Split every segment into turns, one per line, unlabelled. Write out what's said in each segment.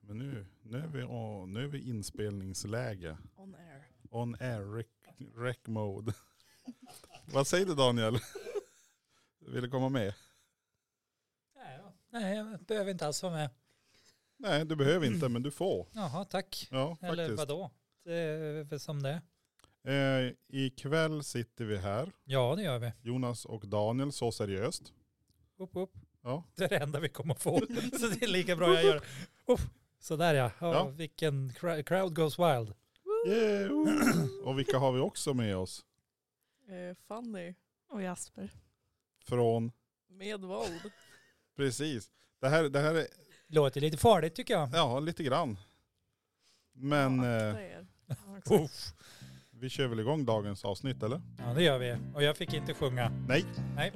Men nu, nu, är vi, å- nu är vi inspelningsläge.
On air.
On air, rec, rec mode. Vad säger du Daniel? Vill du komma med?
Nej, då. Nej, jag behöver inte alls vara med.
Nej, du behöver inte, men du får.
Jaha, tack.
Ja,
Eller
faktiskt.
vadå? Det är väl som det är.
Eh, ikväll sitter vi här,
Ja, det gör vi.
Jonas och Daniel, så seriöst.
Upp, upp.
Ja.
Det är det enda vi kommer att få. Så det är lika bra jag gör det. Upp. Sådär ja. ja.
Ja.
Vilken cra- crowd goes wild.
Yeah. Och vilka har vi också med oss?
Eh, Fanny.
Och Jasper.
Från,
Med våld.
precis. Det här, det här är,
Låter lite farligt tycker jag.
ja lite grann. Men eh,
Akta er.
Uff.
vi kör väl igång dagens avsnitt eller?
Ja, det gör vi. Och jag fick inte sjunga.
Nej.
Nej.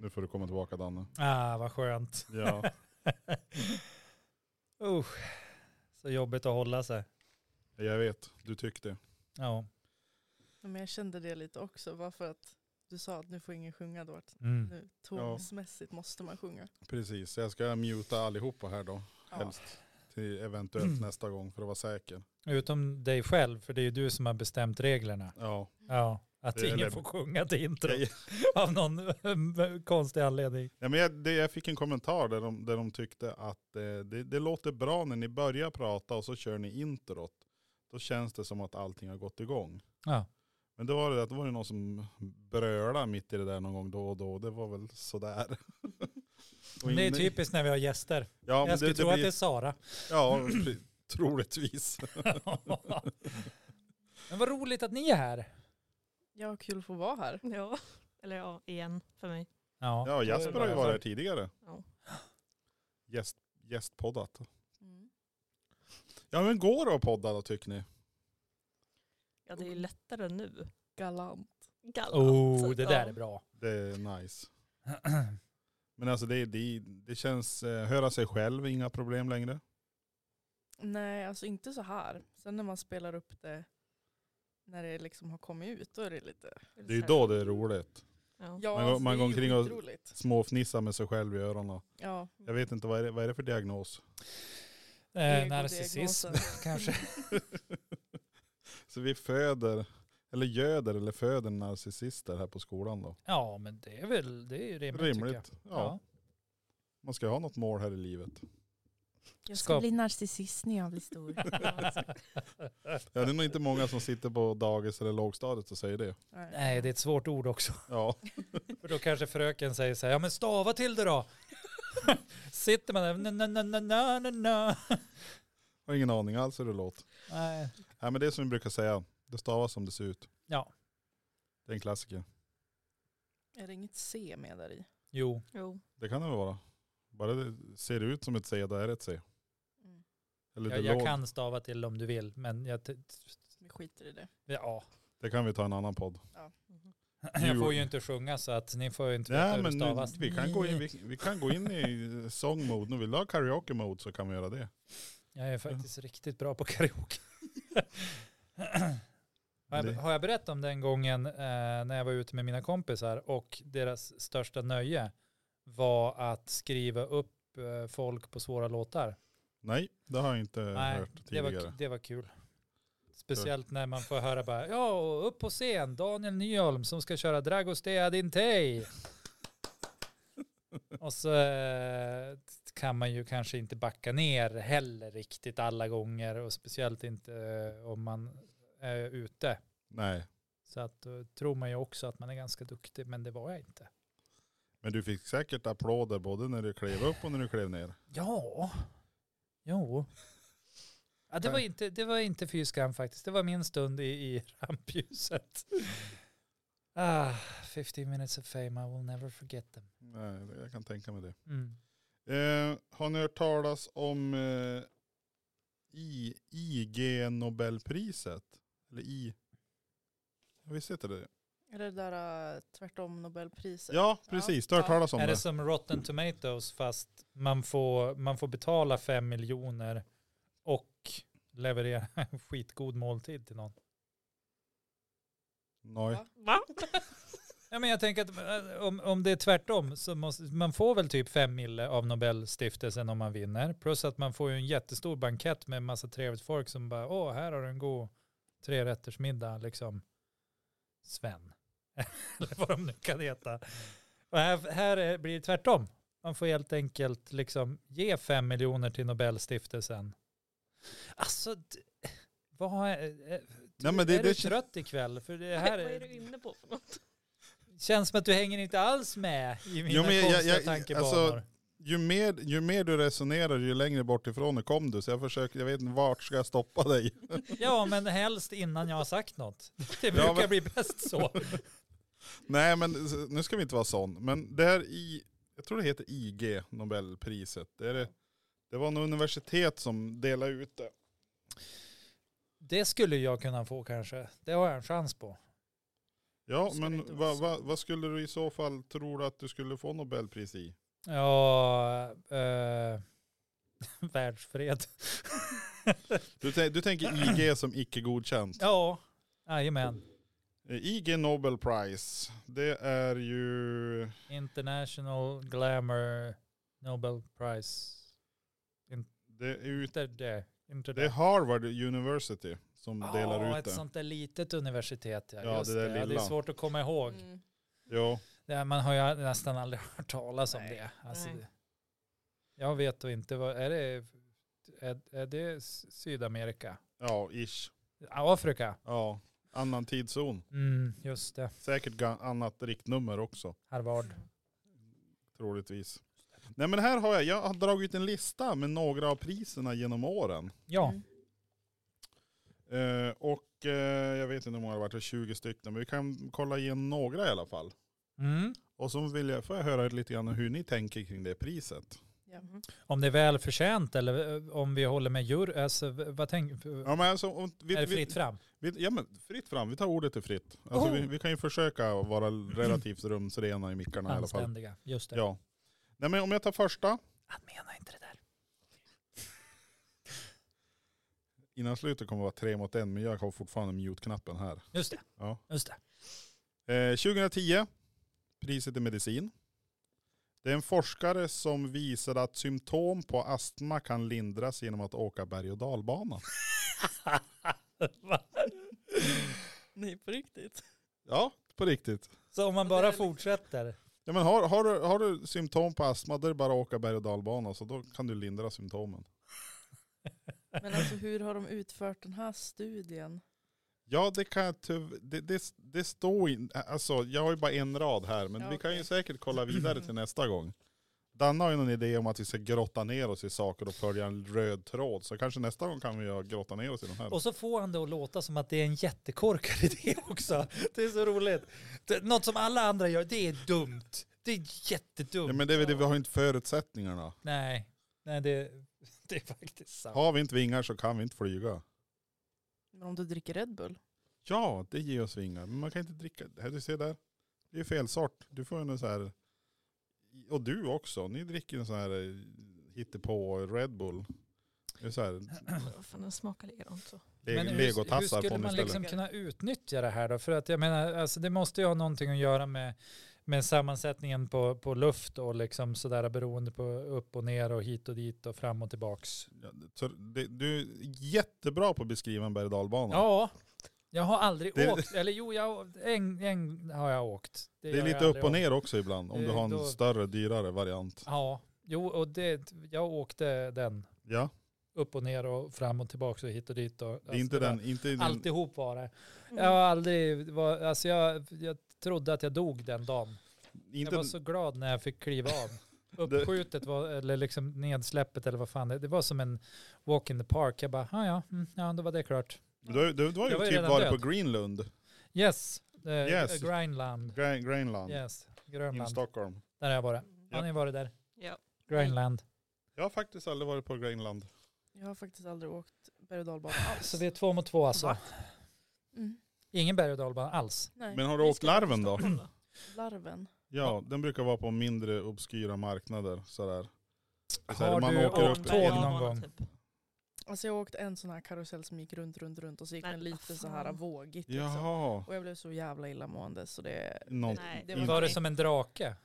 Nu får du komma tillbaka Danne.
Ah, vad skönt.
Ja.
Usch. Så jobbigt att hålla sig.
Jag vet, du tyckte.
Ja.
Men jag kände det lite också. Bara för att du sa att nu får ingen sjunga. Då att
Mm.
nu tonsmässigt måste man sjunga.
Precis, jag ska muta allihopa här då.
Ja.
Helst till eventuellt
Mm.
nästa gång för att vara säker.
Utom dig själv, för det är ju du som har bestämt reglerna.
Ja.
Ja, att
Det är
ingen
det.
får sjunga till intro
Jag,
av någon konstig anledning.
ja, men jag, det, jag fick en kommentar där de, där de tyckte att eh, det, det låter bra när ni börjar prata och så kör ni introt. Då känns det som att allting har gått igång.
Ja.
Men det var det att det var ju någon som brölade mitt i det där någon gång då och då. Det var väl sådär. Och
det är
inne i-
typiskt när vi har gäster.
Ja, men typ
jag skulle tro att
blir-
det är Sara.
Ja, troligtvis.
Men vad roligt att ni är här.
Jag har kul att få vara här.
Ja. Eller ja, igen för mig.
Ja,
Ja, Jasper har ju
bara-
varit här tidigare.
Ja.
Gäst, gästpoddat.
Mm.
Ja men går det att podda då tycker ni?
Ja, det är ju lättare nu.
Galant.
Galant.
Oh, det där
Ja.
är bra.
Det är nice. Men alltså det, det, det känns, eh, höra sig själv, inga problem längre.
Nej, alltså inte så här. Sen när man spelar upp det när det liksom har kommit ut, då är det lite...
Det är ju då det är roligt.
Ja.
Ja,
Man går- man
det är
går
ju
omkring och-
skitroligt.
Småfnissa med sig själv i öronen.
Ja.
Jag vet inte, vad är det, vad är det för diagnos?
Eh, narcissism
Egodiagnosen.
kanske.
Så vi föder, eller göder eller föder narcissister här på skolan då.
Ja, men det är väl det är ju rimligt, tycker jag.
Rimligt. Ja, man ska ju ha något mål här i livet.
Jag
ska Skap- bli
narcissist när jag blir stor.
Ja, det är nog inte många som sitter på dagis eller lågstadiet och säger det.
Nej, det är ett svårt ord också.
Ja,
För då kanske fröken säger så här, ja men stava till det då. Sitter man där, na, na, na, na, na, na, na.
har ingen aning alls hur det låter.
Nej,
Nej, men det är som vi brukar säga, det stavas som det ser ut.
ja,
Det är en klassiker.
Är det inget C med där i?
jo,
Jo.
Det kan det väl vara. Bara det ser ut som ett C, då är det ett C.
Mm.
Eller det,
jag, jag
låg-
kan stava till om du vill, men jag, t-
Vi skiter i det.
ja,
det kan vi ta i en annan podd.
jag får ju inte sjunga så att ni får ju inte veta
Nej,
hur det
men nu,
stavas.
vi, kan gå in, vi, vi kan gå in i sångmode nu. Vill du ha karaoke-mode så kan vi göra det.
Jag är faktiskt riktigt bra på karaoke. har,
Det-
jag, har jag berättat om den gången eh, när jag var ute med mina kompisar och deras största nöje var att skriva upp eh, folk på svåra låtar?
Nej, det har jag inte
Nej,
Eh, hört
det
tidigare.
var, det var kul. Speciellt när man får höra bara, ja, och upp på scen, Daniel Nyholm som ska köra Dragostea Dintei. Och så eh, kan man ju kanske inte backa ner heller riktigt alla gånger och speciellt inte eh, om man är ute.
Nej,
Så att då tror man ju också att man är ganska duktig, men det var jag inte.
men du fick säkert applåder både när du klev upp och när du klev ner.
Ja, jo. Ja, det, var inte, det var inte fy skam faktiskt. Det var min stund i, i rampljuset. Ah, 15 minutes of fame, I will never forget them.
Nej, jag kan tänka mig det.
Mm.
Eh, har ni hört talas om eh, I, IG Nobelpriset? Eller I... Ja, Visst heter det det?
Är det där eh, tvärtom Nobelpriset?
Ja, precis. Du har hört
Ja.
talas om
Är det
det?
som Rotten Tomatoes fast man får, man får betala 5 miljoner och leverera en skitgod måltid till någon.
Nej.
Va?
Va?
Ja, men jag tänker att eh, om, om det är tvärtom så måste man får väl typ fem mille av Nobelstiftelsen om man vinner. Plus att man får ju en jättestor bankett med massa trevligt folk som bara, åh, här har du en god trerättersmiddag, liksom. Sven. Eller vad de nu kan heta. Och här, här är, blir det tvärtom. Man får helt enkelt liksom ge fem miljoner till Nobelstiftelsen. Alltså, d- vad är... eh,
Nej, men det-
är du
det-
trött ikväll? För det
Vad
här
är du inne på för något?
Känns som att du hänger inte alls med i mina
Jo, men jag- jag-
konstiga
jag-
tankebanor.
alltså- Ju mer, ju mer du resonerar ju längre bort ifrån det kom du. Så jag försöker, jag vet inte vart ska jag stoppa dig.
Ja, men helst innan jag har sagt något. Det brukar
Ja, men-
bli bäst så.
Nej men s- nu ska vi inte vara sån. Men det här i, jag tror det heter IG, Nobelpriset. Det, är det, det var något universitet som delade ut det.
Det skulle jag kunna få kanske. Det har jag en chans på.
Ja
Ska det inte
men
vara
vad
så?
va, vad skulle du i så fall tro att du skulle få Nobelpris i?
Ja, eh, världsfred.
Du, tän- du tänker IG som icke godkänt.
Ja, jajamän.
Eh, IG Nobel Prize, det är ju
International Glamour Nobel Prize.
det är, ut,
Inte det. Inte
det är
det.
Harvard University som
Ja,
delar ut
ett
det.
sånt där litet universitet. Ja,
Ja,
just
det där
det. Ja, det är
lilla.
svårt att komma ihåg.
Mm.
Ja.
Det här, man har ju nästan aldrig hört talas om
Nej,
det. Alltså,
nej.
det- jag vet då inte, vad, är, det, är, är det S- Sydamerika?
ja, ish.
Afrika?
Ja, annan tidszon.
Mm, just det,
Säkert ga- annat riktnummer också.
Harvard.
Troligtvis. Nej men här har jag, jag har dragit en lista med några av priserna genom åren.
Ja,
Mm.
Eh, och eh, jag vet inte hur många det har varit, 20 stycken, men vi kan kolla igen några i alla fall.
mm.
Och så vill jag, får jag höra lite grann hur ni tänker kring det priset.
Ja. mm.
om det är välförtjänt eller eh, om vi håller med djur, alltså, v- vad tänk,
Ja, men alltså, om, vi,
är det
vi-
fritt fram?
Vi, ja men fritt fram, vi tar ordet är fritt. Alltså,
Oh.
vi, vi kan ju försöka vara relativt rumsrena i mickarna i alla fall.
Anständiga, just det.
Ja. Nej men om jag tar första,
Han menar inte det där.
innan slutet kommer det vara tre mot en, men jag har fortfarande mute-knappen här.
Just det,
Ja.
just det.
Eh, 2010, priset i medicin. Det är en forskare som visar att symptom på astma kan lindras genom att åka berg och dalbana.
Va?
Nej på riktigt.
Ja, på riktigt.
Så om man
Och det är
bara
liksom-
fortsätter.
Ja, men har, har, du, har du symptom på astma, då är det bara att åka berg och dalbana, så då kan du lindra symptomen.
Men alltså hur har de utfört den här studien?
Ja, det kan jag tyv- det, det, det står in, alltså jag har ju bara en rad här, men
Ja,
vi kan ju
okej.
säkert kolla vidare till nästa gång. Danne har ju någon idé om att vi ska grotta ner oss i saker och följa en röd tråd, så kanske nästa gång kan vi göra- grotta ner oss i den här.
Och så får han det att låta som att det är en jättekorkad idé också. Det är så roligt. Det, något som alla andra gör, det är dumt. Det är jättedumt.
Ja, men det är väl det, vi har ju inte förutsättningarna.
Nej, nej det, det är faktiskt sant.
Har vi inte vingar så kan vi inte flyga.
Men om du dricker Red Bull?
Ja, det ger oss vingar, men man kan inte dricka. Här, du ser där, det är ju fel sort. Du får ju en så här, och du också, ni dricker en sån här eh, hittepå Red Bull. Det är så här,
Vad fan, den smakar likadant så.
le-
Men hur-
legotassar
Hur
på
skulle
mig
man
istället.
liksom kunna utnyttja det här då? För att jag menar, alltså det måste ju ha någonting att göra med, med sammansättningen på, på luft och liksom sådär beroende på upp och ner och hit och dit och fram och tillbaks.
Ja, så det, du är jättebra på att beskriva en berg och dalbana.
Ja, jag har aldrig
Det-
åkt. Eller jo, jag, en, en har jag åkt.
det är
gör jag
lite
aldrig
upp och
om.
ner också ibland, om
Det-
du har en
då-
större, dyrare variant.
Ja, jo, och det, jag åkte den
Ja,
upp och ner och fram och tillbaka och hit och dit. Och, Alltså,
det är inte den, inte den.
Alltihop var det. Jag
Mm.
har aldrig, var, alltså jag, jag trodde att jag dog den dagen. jag
Inte,
var så glad när jag fick kliva av.
Det-
Uppskjutet var, eller liksom nedsläppet eller vad fan det, det var som en walk in the park. Jag bara, "Ah, ja, mm, ja, då var det klart.
du, du, du har ju
Jag var
typ
ju redan
varit
död.
på Greenlund,
Yes, eh,
Yes.
Grönland.
Gra- Greenland,
Yes,
i
Grönland.
Stockholm.
Där har jag varit.
Ja.
Har ni varit där?
Ja.
Grönland.
Jag har faktiskt aldrig varit på Greenland.
Jag har faktiskt aldrig åkt berg och dalbana alls.
Så vi är två mot två alltså.
Va? Mm,
Ingen berg och dalbana alls.
nej.
Men har du åkt Larven då?
Larven.
Ja, den brukar vara på mindre obskyra marknader sådär. Så här,
Har
man
du
åker upp
åkt tåg
till-
någon gång?
Typ.
Alltså jag åkte en sån här karusell som gick runt, runt, runt och så gick
Nej,
den lite
vad
så här
fan.
vågigt. Liksom.
Jaha.
Och jag blev så jävla illamående så det,
Något.
Nej,
det
in-
Var det
Nej.
som en drake?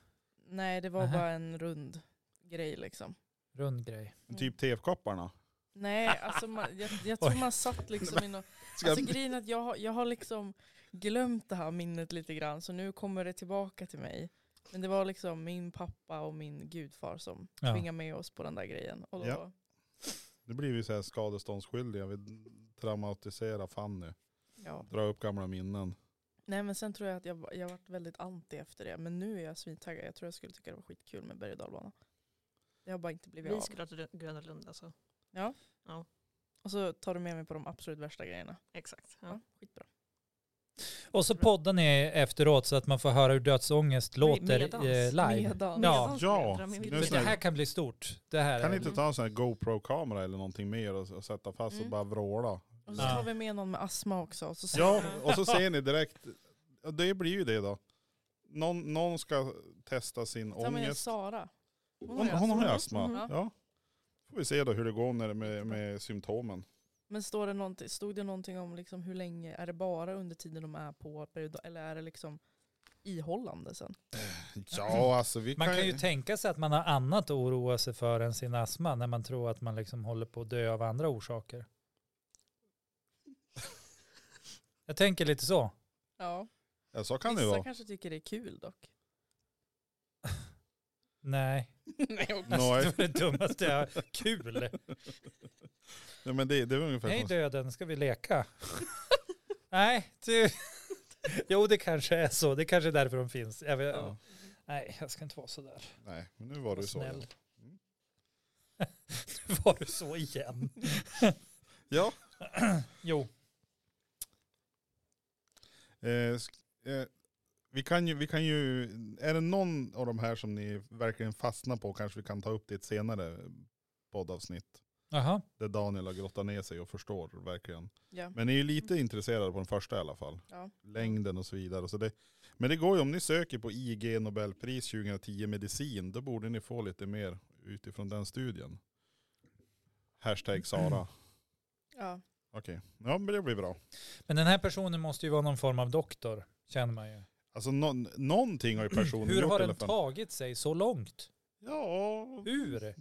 nej det var
Nähä.
bara en rund grej liksom. Mm.
Rund grej.
Typ TV-kopparna.
Nej, alltså man, jag, jag tror
Oj.
man satt liksom i någon... Alltså grejen är att jag, har- jag har liksom glömt det här minnet lite grann så nu kommer det tillbaka till mig. Men det var liksom min pappa och min gudfar som
Ja.
tvingade med oss på den där grejen. Och då,
Ja. Nu blir vi så här skadeståndsskyldiga. Vi traumatiserar Fanny.
ja.
Dra upp gamla minnen.
Nej men sen tror jag att jag, jag varit väldigt anti efter det. Men nu är jag svintaggad. Jag tror jag skulle tycka det var skitkul med berg och dalbana. Det har bara inte blivit
Vi
av.
skulle till Gröna Lund alltså.
Och så tar du med mig på de absolut värsta grejerna.
Exakt.
Ja,
Ja.
skitbra.
Och så poddar ni efteråt så att man får höra hur dödsångest låter
medans.
eh, live.
Medans.
Ja.
Medans
Ja,
föräldrar med
det är
bilder.
Men det här kan bli stort. Det här
Kan
är-
ni inte ta en sån här GoPro-kamera eller någonting mer och, och sätta fast och
Mm.
bara vråla?
Och så
Ja.
tar vi med någon med astma också. Och så
Ja, och så ser ni direkt. ja, Det blir ju det då. Någon, någon ska testa sin
Ta med
ångest.
Sara.
Hon, hon har ju
Mhm.
astma.
Ja.
Ja. Får vi se då hur det går när det med, med symptomen.
Men står det någonting, stod det någonting om liksom hur länge, är det bara under tiden de är på period, eller är det liksom ihållande sen?
Ja, alltså vi
Man kan
ju-
ju tänka sig att man har annat att oroa sig för än sin astma när man tror att man liksom håller på att dö av andra orsaker. Jag tänker lite så.
Ja,
Ja, så kan det
vissa
ju vara.
kanske tycker det är kul dock.
Nej,
Nej, och-
alltså,
Nej.
det var det dummaste jag Kul!
Nej, men det, det är ungefär
Hej
som-
döden, ska vi leka? Nej, du. Jo, det kanske är så. Det kanske är därför de finns. Jag vet,
Ja.
Nej, jag ska inte vara så där.
Nej, men nu var du så.
Snäll.
Mm.
Nu var du så igen.
Ja.
Jo,
Eh, sk- eh, vi, kan ju, vi kan ju, är det någon av de här som ni verkligen fastnar på kanske vi kan ta upp det i ett senare poddavsnitt.
jaha.
Där Daniel har grottat ner sig och förstår verkligen.
ja.
Men ni är ju lite
Mm.
intresserade på den första i alla fall.
Ja.
Längden och så vidare. Så det, men det går ju, om ni söker på IG Nobelpris 2010 medicin, då borde ni få lite mer utifrån den studien. Hashtag Sara.
Ja.
Okej, ja men det blir bra.
Men den här personen måste ju vara någon form av doktor, känner man ju.
Alltså nå- någonting har ju personen
Hur
gjort
har
i alla
den
fall.
tagit sig så långt?
Ja,
Hur?
jag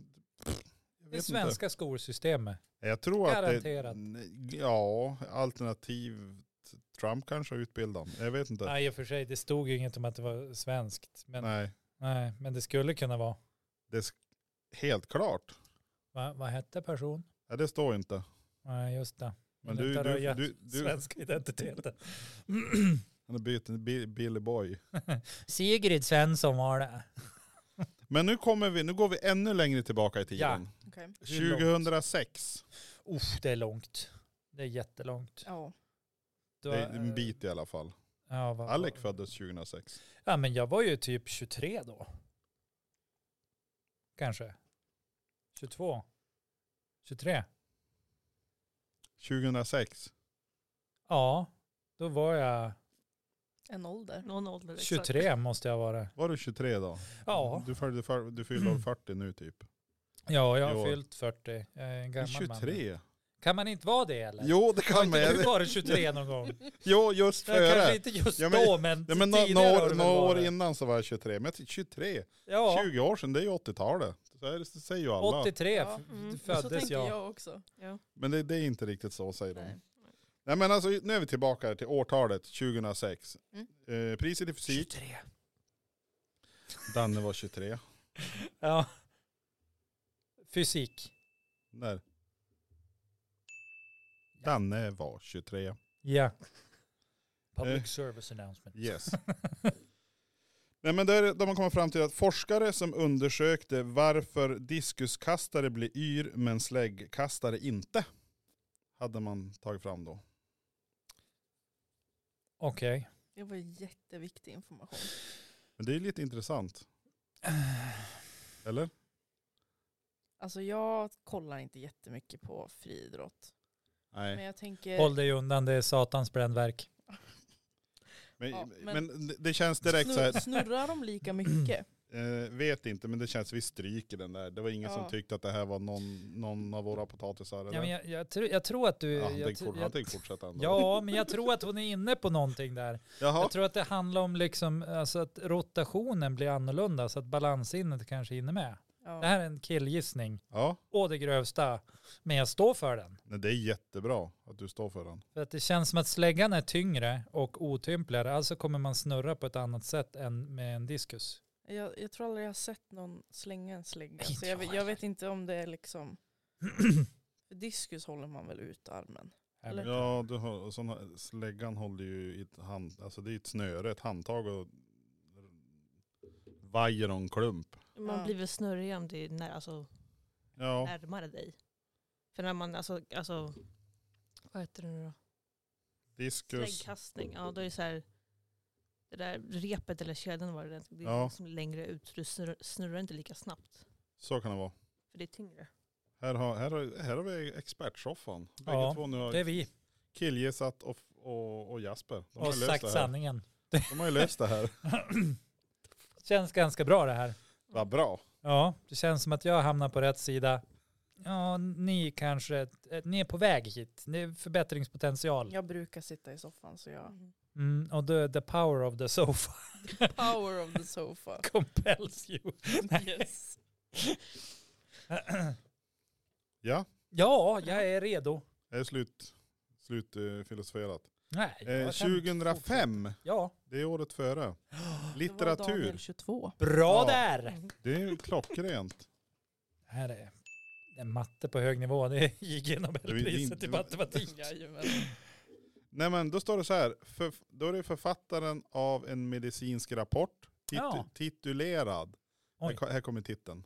Det
vet
svenska skolsystemet.
inte. Jag tror att
Garanterat.
det, ja, alternativ Trump kanske har utbildat. Jag vet inte. Nej.
Nej, i och för sig, det stod ju inget om att det var svenskt. Men, nej. men det skulle kunna vara.
det är helt klart.
Va, vad hette person?
Ja, det står inte.
Nej, just det.
Men
Vill
du,
inte
du,
röja
du, du,
Svenska identiteten.
han har bytt en Bi- Billy Boy.
Sigrid Svensson var det.
Men nu kommer vi, nu går vi ännu längre tillbaka i tiden.
Okej.
Hur långt?
2006.
Uff, det är långt. Det är jättelångt.
Ja.
Du
Det är
har-
en bit i alla fall.
Ja, vad-
Alec föddes 2006.
Ja, men jag var ju typ 23 då. Kanske. 22. 23.
2006.
Ja, då var jag
En ålder.
Mm.
Någon ålder. exakt.
23 måste jag vara.
Var du 23 då?
Ja,
Du, följde för, du fyller 40 nu typ.
ja jag har
I år.
fyllt 40. Jag är en
Du är
gammal man.
23?
Kan man inte vara det eller?
Jo det
har
kan man.
inte du
Jag-
varit 23 någon gång?
Jo just
Jag kanske
före.
inte just
Ja, men-
då, men,
Ja, men nå-
tidigare har
några
det väl
några år
varit.
innan så var jag 23. Men jag tyckte 23,
Ja,
20 år sedan det är ju 80-talet. Så är det, det säger ju alla.
83
Ja,
f-
mm.
så
föddes
tänker
jag.
jag, också.
Ja.
Men det, det är inte riktigt så säger de.
Nej.
Nej. men alltså nu är vi tillbaka till årtalet 2006.
Mm.
Eh, priset i fysik.
23.
Danne var 23.
Ja. Fysik.
När? Danne var 23.
Ja.
Public Eh.
service announcement.
Yes. Nej, men där, där man kommer fram till att forskare som undersökte varför diskuskastare blir yr men släggkastare inte. Hade man tagit fram då.
Okej.
Det var jätteviktig information.
Men det är lite intressant. Eller?
Alltså jag kollar inte jättemycket på friidrott. Men
Nej.
jag tänker...
Håll dig undan, det är satans brännverk.
Men,
Ja,
men,
men-
det- det känns direkt så här.
Snurr, snurrar de lika mycket?
Eh, vet inte, men det känns vi stryker den där. Det var ingen som
Ja.
tyckte att det här var någon, någon av våra potatisar. Eller?
Ja, men jag, jag, tror, jag tror att du...
Ja, han
jag,
tänkte
tr-
fort- han
jag,
tänkte fortsätta ändå.
ja, men jag tror att hon är inne på någonting där.
Jaha.
Jag tror att det handlar om liksom, alltså att rotationen blir annorlunda så att balansinnet kanske hinner med. Det
Ja.
här är en killgissning.
Ja,
Å det grövsta. Men jag står för den.
nej, det är jättebra att du står för den.
För att det känns som att släggan är tyngre och otympligare. Alltså kommer man snurra på ett annat sätt än med en diskus.
Jag, jag tror aldrig jag har sett någon slänga en slägga.
Nej,
Så
inte
jag,
jag
vet- jag vet inte om det är liksom... För diskus håller man väl ut armen? Eller-
Ja, du har, och sån här, släggan håller ju i ett hand, alltså det är ett snöre, ett handtag och vajer och en klump.
Man
Ja.
blir väl snurrig om det är när, alltså,
Ja,
närmare dig. För när man, alltså, alltså vad heter det nu då?
diskus.
Släggkastning, ja då är det så här, det där repet eller kedjan var det, där, det är
Ja.
liksom längre ut så du snurrar, snurrar inte lika snabbt.
Så kan det vara.
För det är tyngre.
Här har, här har, här har vi expertsoffan. Bägge
Ja,
två nu
Det är
har
vi.
killgissat och, och, och Jasper. De har,
Och
löst
sagt
det här.
sanningen.
De har ju löst det här.
Känns ganska bra det här.
Vad bra.
Ja, det känns som att jag hamnar på rätt sida. Ja, ni kanske, eh, ni är på väg hit. Det är förbättringspotential.
Jag brukar sitta i soffan så jag...
Mm.
Mm, och då är the power of the sofa
Power of the sofa.
compels you.
Yes.
Ja,
Ja, jag är redo.
det är slut, slut eh, filosoferat.
Nej,
Eh,
jag känner-
2005,
Ja,
det är året före.
Det var Daniel
Litteratur,
22.
bra
Ja.
där.
Mm.
det är ju klockrent.
Här är det är matte på hög nivå. Det gick
Det
ju
är
Nobelpriset
inte-
i matematik.
Jajamän.
Nej men då står det så här, för, då är det författaren av en medicinsk rapport, titu,
Ja.
titulerad,
Oj.
här, ko- här kommer titeln.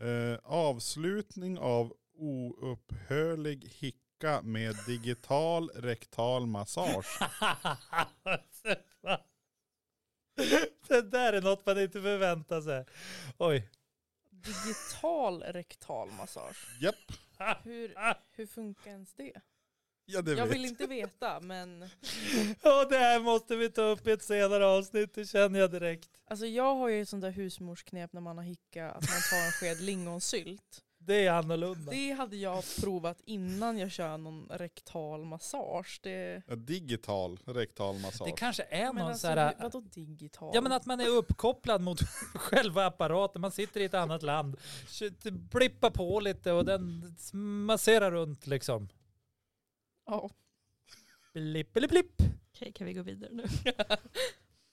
Eh, avslutning av oupphörlig hicka med digital rektal massage.
Det där är något man inte förväntar sig. Oj.
Digital rektal massage.
Japp,
Hur, hur funkar ens det?
ja det
Jag
vet
vill inte veta men
Ja, det här måste vi ta upp i ett senare avsnitt, det känner jag direkt.
alltså jag har ju ett sånt där husmorsknep när man har hicka att man tar en sked lingonsylt.
Det är annorlunda.
Det hade jag provat innan jag kör någon rektal massage. Det,
Ja, digital rektal massage.
Det kanske är
men
någon
alltså,
så här...
hur- vadå digital?
Ja men att man är uppkopplad mot själva apparaten, man sitter i ett annat land, Shit, blippar på lite och den masserar runt liksom.
Ja.
Blipp, blipp, blipp.
Okej, kan vi gå vidare nu?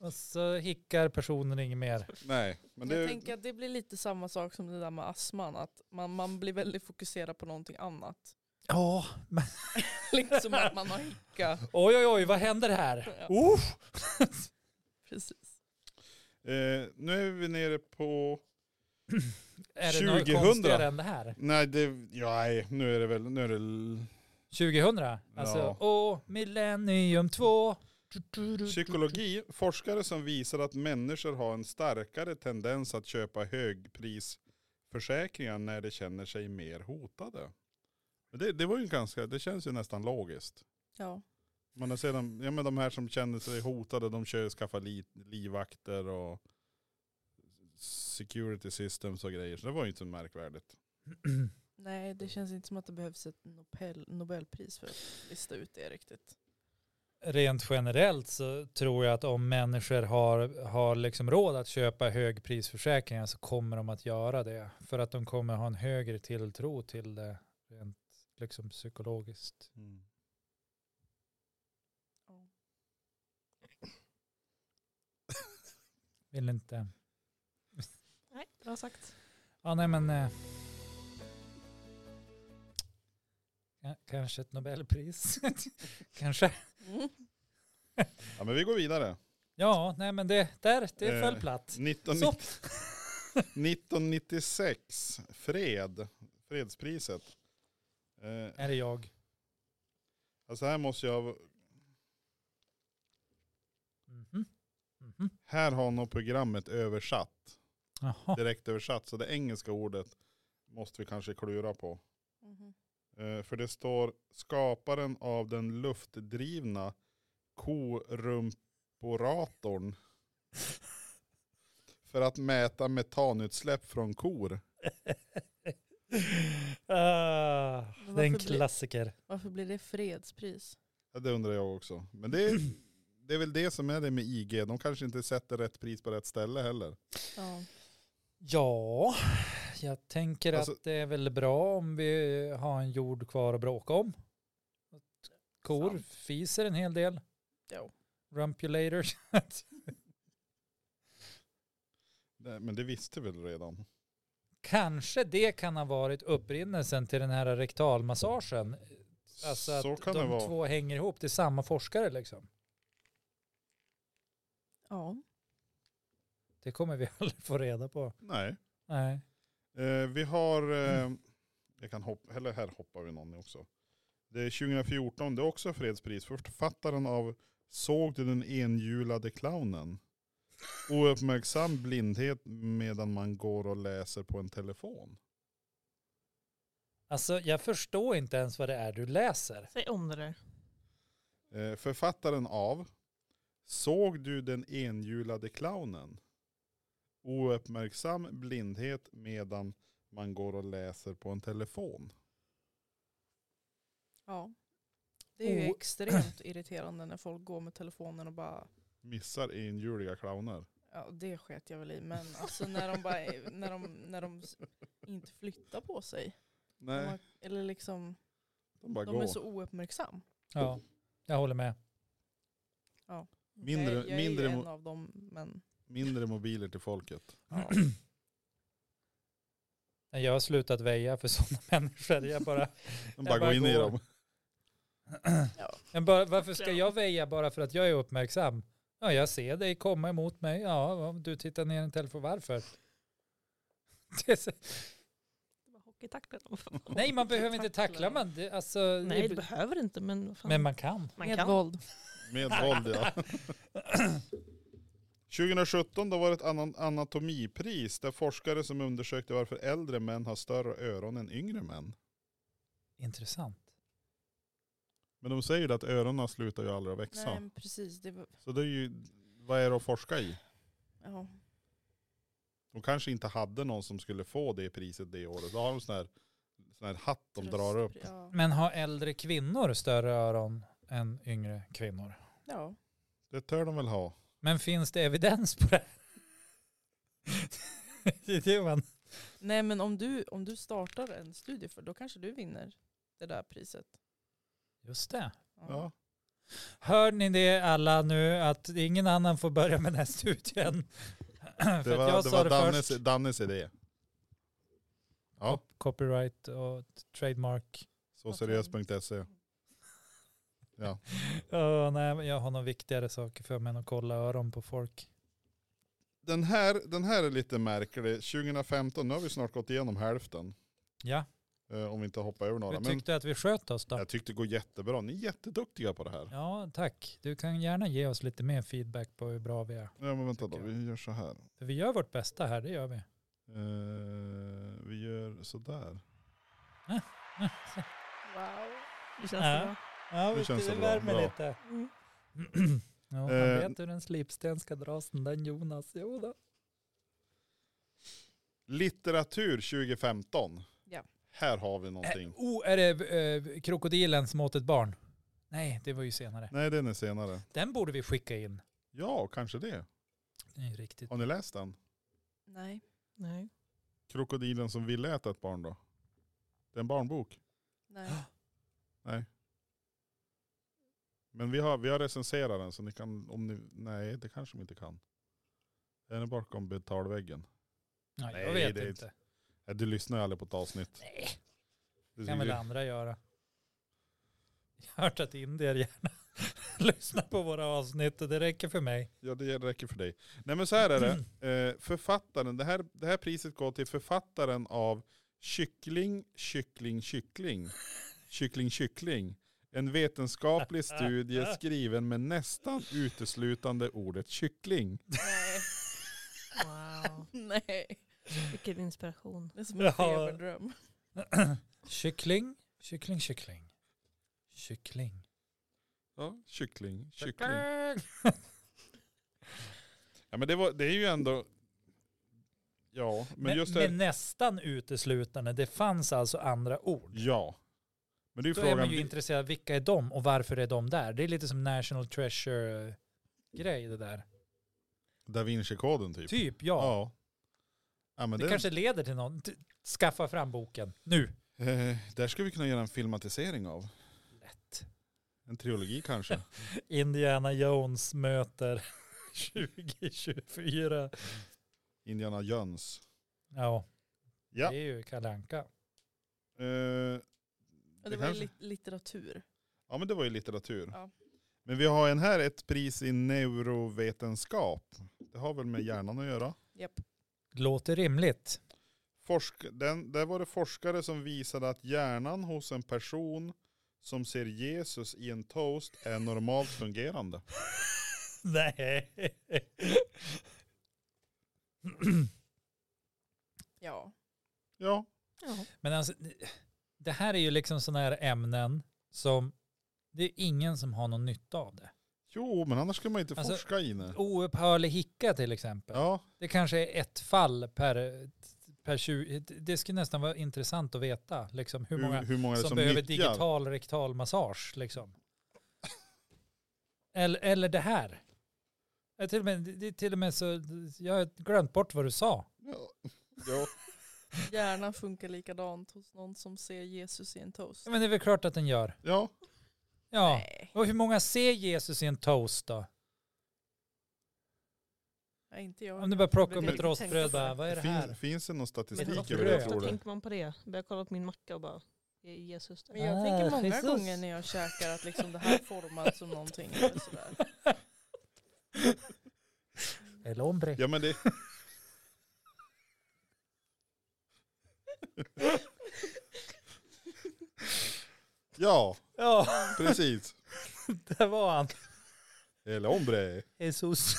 Och så hickar personen inget mer.
Nej, men det,
jag tänker att det blir lite samma sak som det där med astman, att man, man blir väldigt fokuserad på någonting annat.
Ja, men
liksom att man har hicka.
oj oj oj, vad händer här?
Ja,
Oh!
precis.
eh, nu är vi nere på
Är det något
2000?
konstigare än det här?
Nej, det, ja, nej, nu är det väl, nu är det, l-
2000? Alltså,
Ja.
åh, millennium 2.
Mm,
psykologi, forskare som visar att människor har en starkare tendens att köpa högprisförsäkringar när de känner sig mer hotade. Men Det, det var ju ganska, det känns ju nästan logiskt.
Ja.
Man har sedan, ja men de här som känner sig hotade, de kör skaffa li, livvakter och security systems och grejer. Så det var ju inte så märkvärdigt.
Nej, det känns inte som att det behövs ett Nobel, Nobelpris för att lista ut det riktigt.
Rent generellt så tror jag att om människor har, har liksom råd att köpa högprisförsäkringar så kommer de att göra det. För att de kommer ha en högre tilltro till det rent liksom psykologiskt. Vill inte.
Nej, bra sagt.
Ja, nej men. Eh, ja, kanske ett Nobelpris. kanske.
Ja men vi går vidare.
Ja, nej men det, där, det
Eh,
föll platt.
1990
Så.
1996, fred, fredspriset. Eh,
Är det jag?
alltså här måste jag,
Mhm. Mhm.
här har nog programmet översatt,
Jaha.
direkt översatt, så det engelska ordet måste vi kanske klura på.
Mhm.
Eh, för det står skaparen av den luftdrivna korumporatorn för att mäta metanutsläpp från kor.
ah,
Men
det är en
varför blir-
klassiker.
Varför blir det fredspris?
Ja, det undrar jag också. Men det är, det är väl det som är det med IG. De kanske inte sätter rätt pris på rätt ställe heller.
Ja.
Ja, jag tänker
Alltså-
att det är väl bra om vi har en jord kvar att bråka om. Att Kor
Sant.
fiser en hel del.
Jo.
Rumpulators.
Nej, Men det visste väl redan.
Kanske det kan ha varit upprinnelsen till den här rektalmassagen. Alltså att
Så kan
de
det vara.
två hänger ihop, det är samma forskare liksom.
ja.
Det kommer vi aldrig få reda på.
Nej.
Nej.
Eh, vi har, eh, jag kan hoppa, eller här hoppar vi någon också. Det är 2014, det är också fredspris. Författaren av Såg du den enhjulade clownen? Ouppmärksam blindhet medan man går och läser på en telefon.
Alltså jag förstår inte ens vad det är du läser.
Säg om det där.
Eh, författaren av Såg du den enhjulade clownen? Ouppmärksam blindhet medan man går och läser på en telefon.
ja. Det är ju
O-
extremt irriterande när folk går med telefonen och bara
Missar enhjuliga clowner.
Ja, det sket jag väl i. Men alltså när de, bara, när de, när de s- inte flyttar på sig. De
Nej,
har, eller liksom,
de bara
de
går.
är så ouppmärksam.
Ja, jag håller med.
Mindre-
jag, jag
mindre
är ju
mo-
en av dem, men
Mindre mobiler till folket.
ja.
Nej, Jag har slutat väja för sådana människor. Jag bara,
De bara, går
bara
in i
går.
dem.
men bara, varför ska jag väja bara för att jag är uppmärksam? Ja, jag ser dig komma emot mig. Ja, om du tittar ner i en telefon. Varför? Det är så-
Det var hockeytacklan.
Nej, man behöver inte tackla man. Det, alltså,
Nej,
det,
det behöver inte, men vad fan.
men man kan.
man
med
kan.
våld.
Med våld ja. 2017 då var det ett anan- anatomipris där forskare som undersökte varför äldre män har större öron än yngre män.
Intressant.
Men de säger ju att öronen slutar ju aldrig att växa.
Nej, men precis. Det, var-
Så det är ju, vad är det att forska i?
ja.
De kanske inte hade någon som skulle få det priset det året. Då har de sån här, sån här hatt de drar upp.
Tröstpri- Ja.
Men har äldre kvinnor större öron än yngre kvinnor?
ja.
Det tör de väl ha.
Men finns det evidens på det? det är det man...
Nej, men om du, om du startar en studie för då kanske du vinner det där priset.
Just det.
Ja.
Hör ni det alla nu att ingen annan får börja med den här studien?
Det
att
var,
jag
det
sa
var
det
Dannes,
först.
Dannes idé. Ja,
Cop- Copyright och trademark.
så seriös.se. Ja.
Åh, nej, men jag har nog viktigare saker för mig än att kolla öron på folk.
Den här, den här är lite märklig. 2015, nu har vi snart gått igenom hälften.
Ja,
Eh, om vi inte hoppar över några.
hur
Men
tyckte du att vi sköt oss då?
jag tyckte det går jättebra. Ni är jätteduktiga på det här.
Ja, tack. Du kan gärna ge oss lite mer feedback på hur bra vi är.
Ja, men vänta då,
Tycker jag.
vi gör så här.
För vi gör vårt bästa här, det gör vi.
Eh, vi gör så där.
Wow.
Det känns
Ja.
bra.
Ja,
Det
visst,
känns
det
bra,
värmer
bra.
lite.
Mm.
ja, han
Eh.
vet hur en slipsten ska dras, den där Jonas. Jo då.
Litteratur 2015.
Ja.
Här har vi någonting.
Eh, oh, är det eh, krokodilen som åt ett barn? Nej, det var ju senare.
Nej, den är senare.
Den borde vi skicka in.
Ja, kanske det.
Det är riktigt.
Har ni läst den?
Nej.
Nej.
Krokodilen som ville äta ett barn då? Det är en barnbok.
Nej.
Men vi har, vi har recenserat den så ni kan, om ni, nej det kanske de inte kan. Den är bakom betalväggen.
Nej, jag
Nej,
vet
det är-
inte.
Nej, Du lyssnar ju aldrig på ett avsnitt.
Nej,
Du
det kan väl
tycker-
andra göra. Jag har hört att indier gärna lyssnar på våra avsnitt och det räcker för mig.
Ja det räcker för dig. Nej men så här är det. Eh, författaren, det här, det här priset går till författaren av Kyckling, kyckling, kyckling. Kyckling, kyckling. En vetenskaplig studie skriven med nästan uteslutande ordet kyckling.
Nej.
Wow.
Nej.
Vilken inspiration.
Det är som en
Ja.
feberdröm.
kyckling, kyckling, kyckling. Kyckling.
Ja, kyckling, kyckling. Ja men det, var, det är ju ändå, Ja, men,
Men,
just det.
men nästan uteslutande. Det fanns alltså andra ord.
Ja. Men det är ju
Då är
frågan.
man ju intresserad, vilka är de och varför är de där? Det är lite som National Treasure-grej det där.
da Vinci-koden typ.
Typ, ja.
Ja. ja men
det,
det
kanske leder till någon. T- Skaffa fram boken nu.
eh, där skulle vi kunna göra en filmatisering av.
Lätt.
En trilogi kanske.
Indiana Jones möter 2024.
Indiana Jones.
Ja,
Ja.
det är ju Kalle Anka.
Eh, det
Och det var ju
kanske-
lit- litteratur.
Ja men det var ju litteratur.
Ja.
Men vi har en här, ett pris i neurovetenskap. Det har väl med hjärnan att göra.
Japp.
Låter rimligt.
Forsk, den, där var det forskare som visade att hjärnan hos en person som ser Jesus i en toast är normalt fungerande.
Nej.
Ja.
Ja,
ja.
Men alltså, det här är ju liksom sådana här ämnen som det är ingen som har någon nytta av det.
jo men annars skulle man inte
Alltså-
forska i det.
Oupphörlig hicka till exempel.
Ja,
Det kanske är ett fall per, per 20. Det skulle nästan vara intressant att veta liksom, hur många
hur många är det
som,
som,
behöver
nyttjar?
digital rektal massage. Liksom. Eller, eller det här. Ja, till och med, det är till och med så, jag har glömt bort vad du sa.
Ja. Ja.
Hjärnan funkar likadant hos någon som ser Jesus i en toast.
Men det är väl klart att den gör.
ja,
Ja.
Nej,
Och hur många ser Jesus i en toast då?
nej, inte jag.
Om du bara plockar upp
Det är
ett
lite
rostbröd
tänkt.
bara, vad är det här?
Finns, finns det någon statistik
Men
Sticker
över
ofta,
det
ofta
tror du?
tänker man på det. Börjar kolla på min macka och bara, "Ge Jesus
Men
där.
jag
Ah,
tänker många
Jesus.
gånger när jag käkar att liksom det här formas som någonting. Eller sådär.
El hombre.
Ja men det... ja,
Ja,
precis.
där var han.
Eller ombre.
Jesus.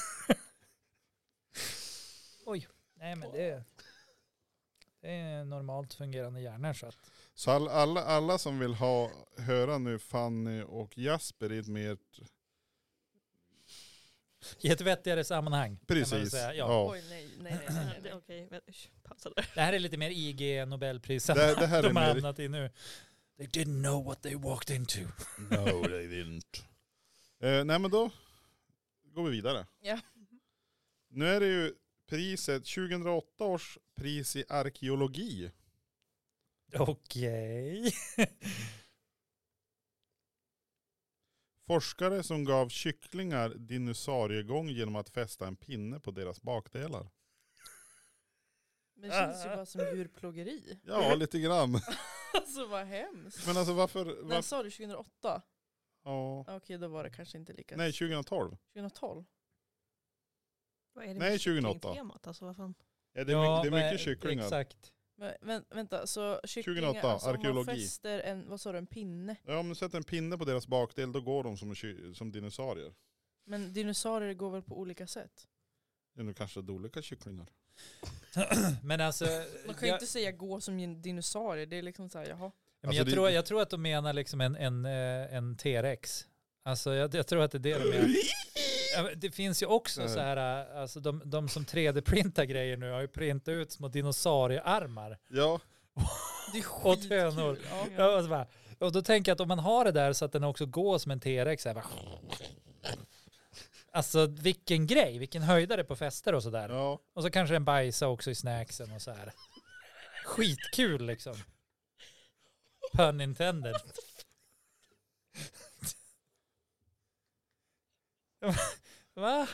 Oj, nej men det, det är normalt fungerande hjärnor så att.
Så all, alla, alla som vill ha, höra nu Fanny och Jasper i ett mer...
I ett vettigare sammanhang. kan man väl
Precis.
säga. Ja.
ja.
Oj nej, nej, nej. nej,
Nej, det
nej,
är
nej.
Okej, men usch, pausa där.
Det här är lite mer IG Nobelprisen.
Det, det här är
De har
mer...
hamnat i nu. They didn't know what they walked into.
No they didn't. Eh, nej men då går vi vidare.
Ja.
Nu är det ju priset, 2008 års pris i arkeologi.
Okej.
Forskare som gav kycklingar dinosauriegång genom att fästa en pinne på deras bakdelar.
Men det känns ju bara som djurplågeri.
Ja, lite grann.
Alltså vad hemskt.
Men alltså varför?
När
varför
sa du 2008?
ja.
Ja, Okej, då var det kanske inte lika.
Nej, 2012.
2012?
Vad är det med
Nej, 2008.
kycklingtemat? Alltså, vad fan?
Ja, det, är
Ja,
mycket, det är mycket
men-
kycklingar.
Exakt.
Men, vän- vänta, så kycklingar,
2008,
alltså om man
arkeologi.
fäster en, vad sa du, en pinne?
Ja, om du sätter en pinne på deras bakdel då går de som, ky- som dinosaurier.
Men dinosaurier går väl på olika sätt?
Ja, nu kanske det är olika kycklingar.
Men alltså,
Man kan ju
jag,
inte säga gå som en dinosaurie, det är liksom såhär, jaha.
men
Alltså,
jag,
det-
tror, jag tror att de menar liksom en, en, eh, en T-rex. Alltså jag, jag tror att det är det de menar. Ja, men Det finns ju också
Nej.
så här, eh, alltså de, de som 3D-printar grejer nu har ju printat ut små dinosauriearmar.
Ja,
Det är
Och tönor.
skitkul. Ja.
Ja, och, så bara, och då tänker jag att om man har det där så att den också går som en T-rex. Så här, bara, alltså vilken grej, vilken höjdare på fester och sådär.
ja.
Och så kanske den bajsar också i snacksen och så här. Skitkul liksom. Pun intended. Va?
Va?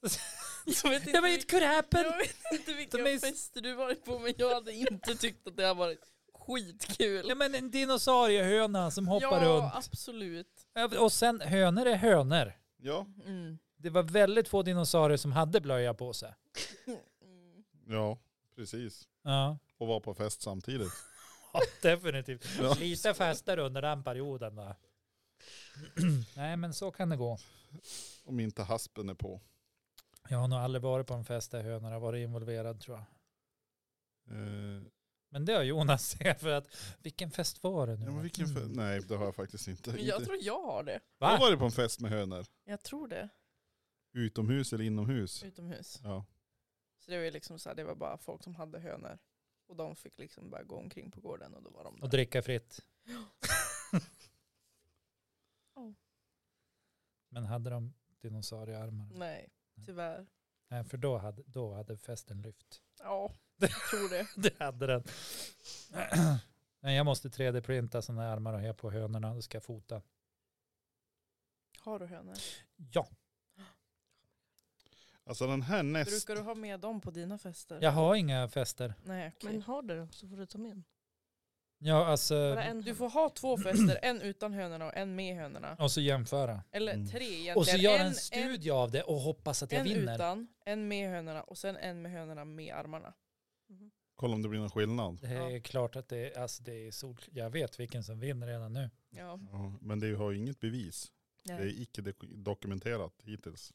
Jag vet
Ja, men
inte
it could happen.
Jag vet inte vilka
De är-
fester du varit på men jag hade inte tyckt att det har varit skitkul.
Ja men en dinosauriehöna som hoppar
ja,
runt.
absolut.
Ja, Och sen hönor är hönor.
Ja.
Mm.
Det var väldigt få dinosaurier som hade blöja på sig.
Mm.
Ja, precis.
Ja,
Och vara på fest samtidigt.
ja definitivt.
Ja.
Lite fastare under den perioden va. Nej men så kan det gå.
Om inte haspen är på.
Jag har nog aldrig varit på en fest där hönor har varit involverad tror jag.
Eh,
Men det har Jonas sett för att vilken fest var det nu?
ja, men vilken fe-
Mm.
Nej, det har jag faktiskt inte.
Men jag
inte.
tror jag har det.
Jag har
Va?
varit på en fest med hönor.
Jag tror det. Mm.
Utomhus eller inomhus.
Utomhus.
Ja.
Så det var ju liksom så här, det var bara folk som hade hönor. Och de fick liksom bara gå omkring på gården och då var de
Och
där.
dricka fritt.
Ja.
Men hade de dinosauriearmar?
Nej, tyvärr.
Nej, för då hade, då hade festen lyft.
Ja, jag tror det.
Det hade den. Nej, jag måste 3D-printa sådana här armar och ha på hönorna. Då ska jag fota.
Har du hönor?
Ja,
Alltså den här näst,
Brukar du ha med dem på dina fester?
jag har inga fester.
Nej, okej.
Men har du då så får du ta med den.
Ja, alltså.
Bara en
Du får ha två fester, en utan hönorna och en med hönorna.
Och så jämföra.
Eller
Mm.
tre egentligen.
Och så göra
en-
en studie av det och hoppas att jag
En, en
vinner.
utan, en med hönorna och sen en med hönorna med armarna.
Mhm.
kolla om det blir någon skillnad.
Det är klart att det, alltså det är sol. Jag vet vilken som vinner redan nu.
Ja.
Ja, men det har ju inget bevis. Det
Nej,
är icke dok- dokumenterat hittills.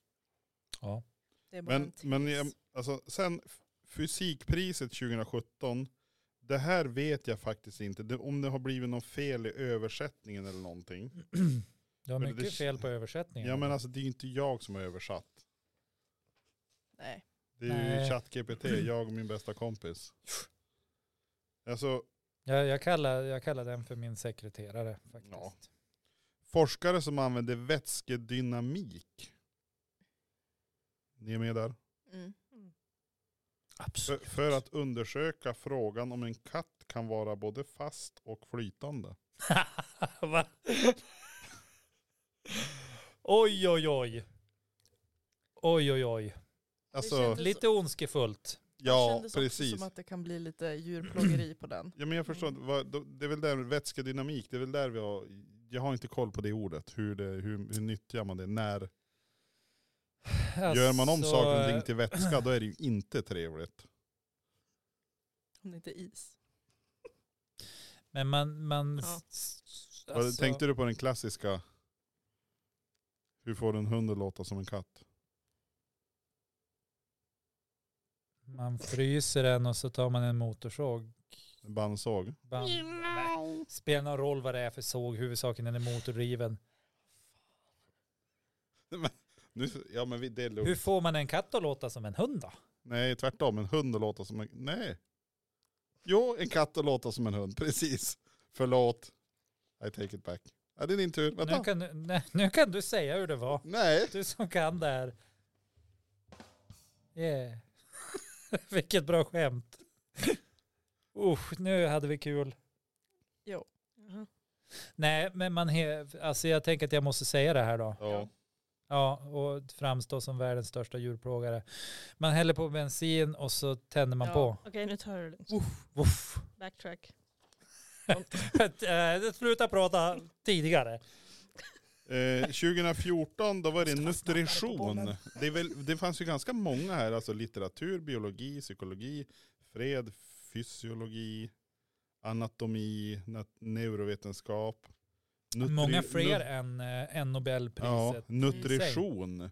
Ja.
det är bara en
Men,
tis.
men jag- alltså, sen f- fysikpriset 2017, det här vet jag faktiskt inte. Det, om det har blivit något fel i översättningen eller någonting.
Du har
Men det-
mycket fel på översättningen.
Ja men alltså det är ju inte jag som har översatt.
Nej.
Det är ju
Nej.
ChatGPT, jag och min bästa kompis. Alltså
jag, jag, kallar, jag kallar den för min sekreterare faktiskt.
Ja. forskare som använder vätskedynamik. Ni är med där?
Mm.
För,
Absolut.
för att undersöka frågan om en katt kan vara både fast och flytande.
Va? oj, oj, oj. Oj, oj, oj.
Alltså,
kändes-
Lite ondskefullt.
det
ja
kändes
precis.
också som att det kan bli lite djurplågeri på den.
Ja men jag förstår, inte,
Mm.
vad, då- det är väl där vätskedynamik, det är väl där vi har, jag har inte koll på det ordet, hur, det, hur, hur nyttjar man det, när gör man om
Alltså,
saker och ting till vätska då är det ju inte trevligt.
Om det inte är is.
Men man... man
Ja.
s-
Vad- Tänkte du på den klassiska, hur får en hund att låta som en katt?
alltså, Man fryser den och så tar man en motorsåg.
En bandsåg?
Bam. Nej, Spelar någon roll vad det är för såg, huvudsaken den är motorriven.
Nu, ja men vi- det är lugnt.
Hur får man en katt att låta som en hund då?
Nej tvärtom, en hund att låta som en, nej. Jo, en katt att låta som en hund, precis. Förlåt. I take it back. Ja, det är din tur,
Nu
vänta.
kan, du, nej, nu kan du säga hur det var.
Nej.
Du som kan det här. Yeah. Vilket bra skämt. Usch, nu hade vi kul.
Jaha.
Nej, men man he- alltså jag tänker att jag måste säga det här då.
Ja.
Ja, och framstå som världens största djurplågare. Man häller på bensin och så tänder man
Ja.
på.
Okej, nu tar du det lugnt.
Oh.
Woof.
Backtrack.
Eh, Sluta prata tidigare.
Eh, 2014 då var det
Ska vara snabbare på
nutrition.
bollen.
Det, är väl, det fanns ju ganska många här, alltså litteratur, biologi, psykologi, fred, fysiologi, anatomi, nat- neurovetenskap. nutri-
Många fler
nut-
än, eh, än
Ja,
Nobelpriset.
nutrition.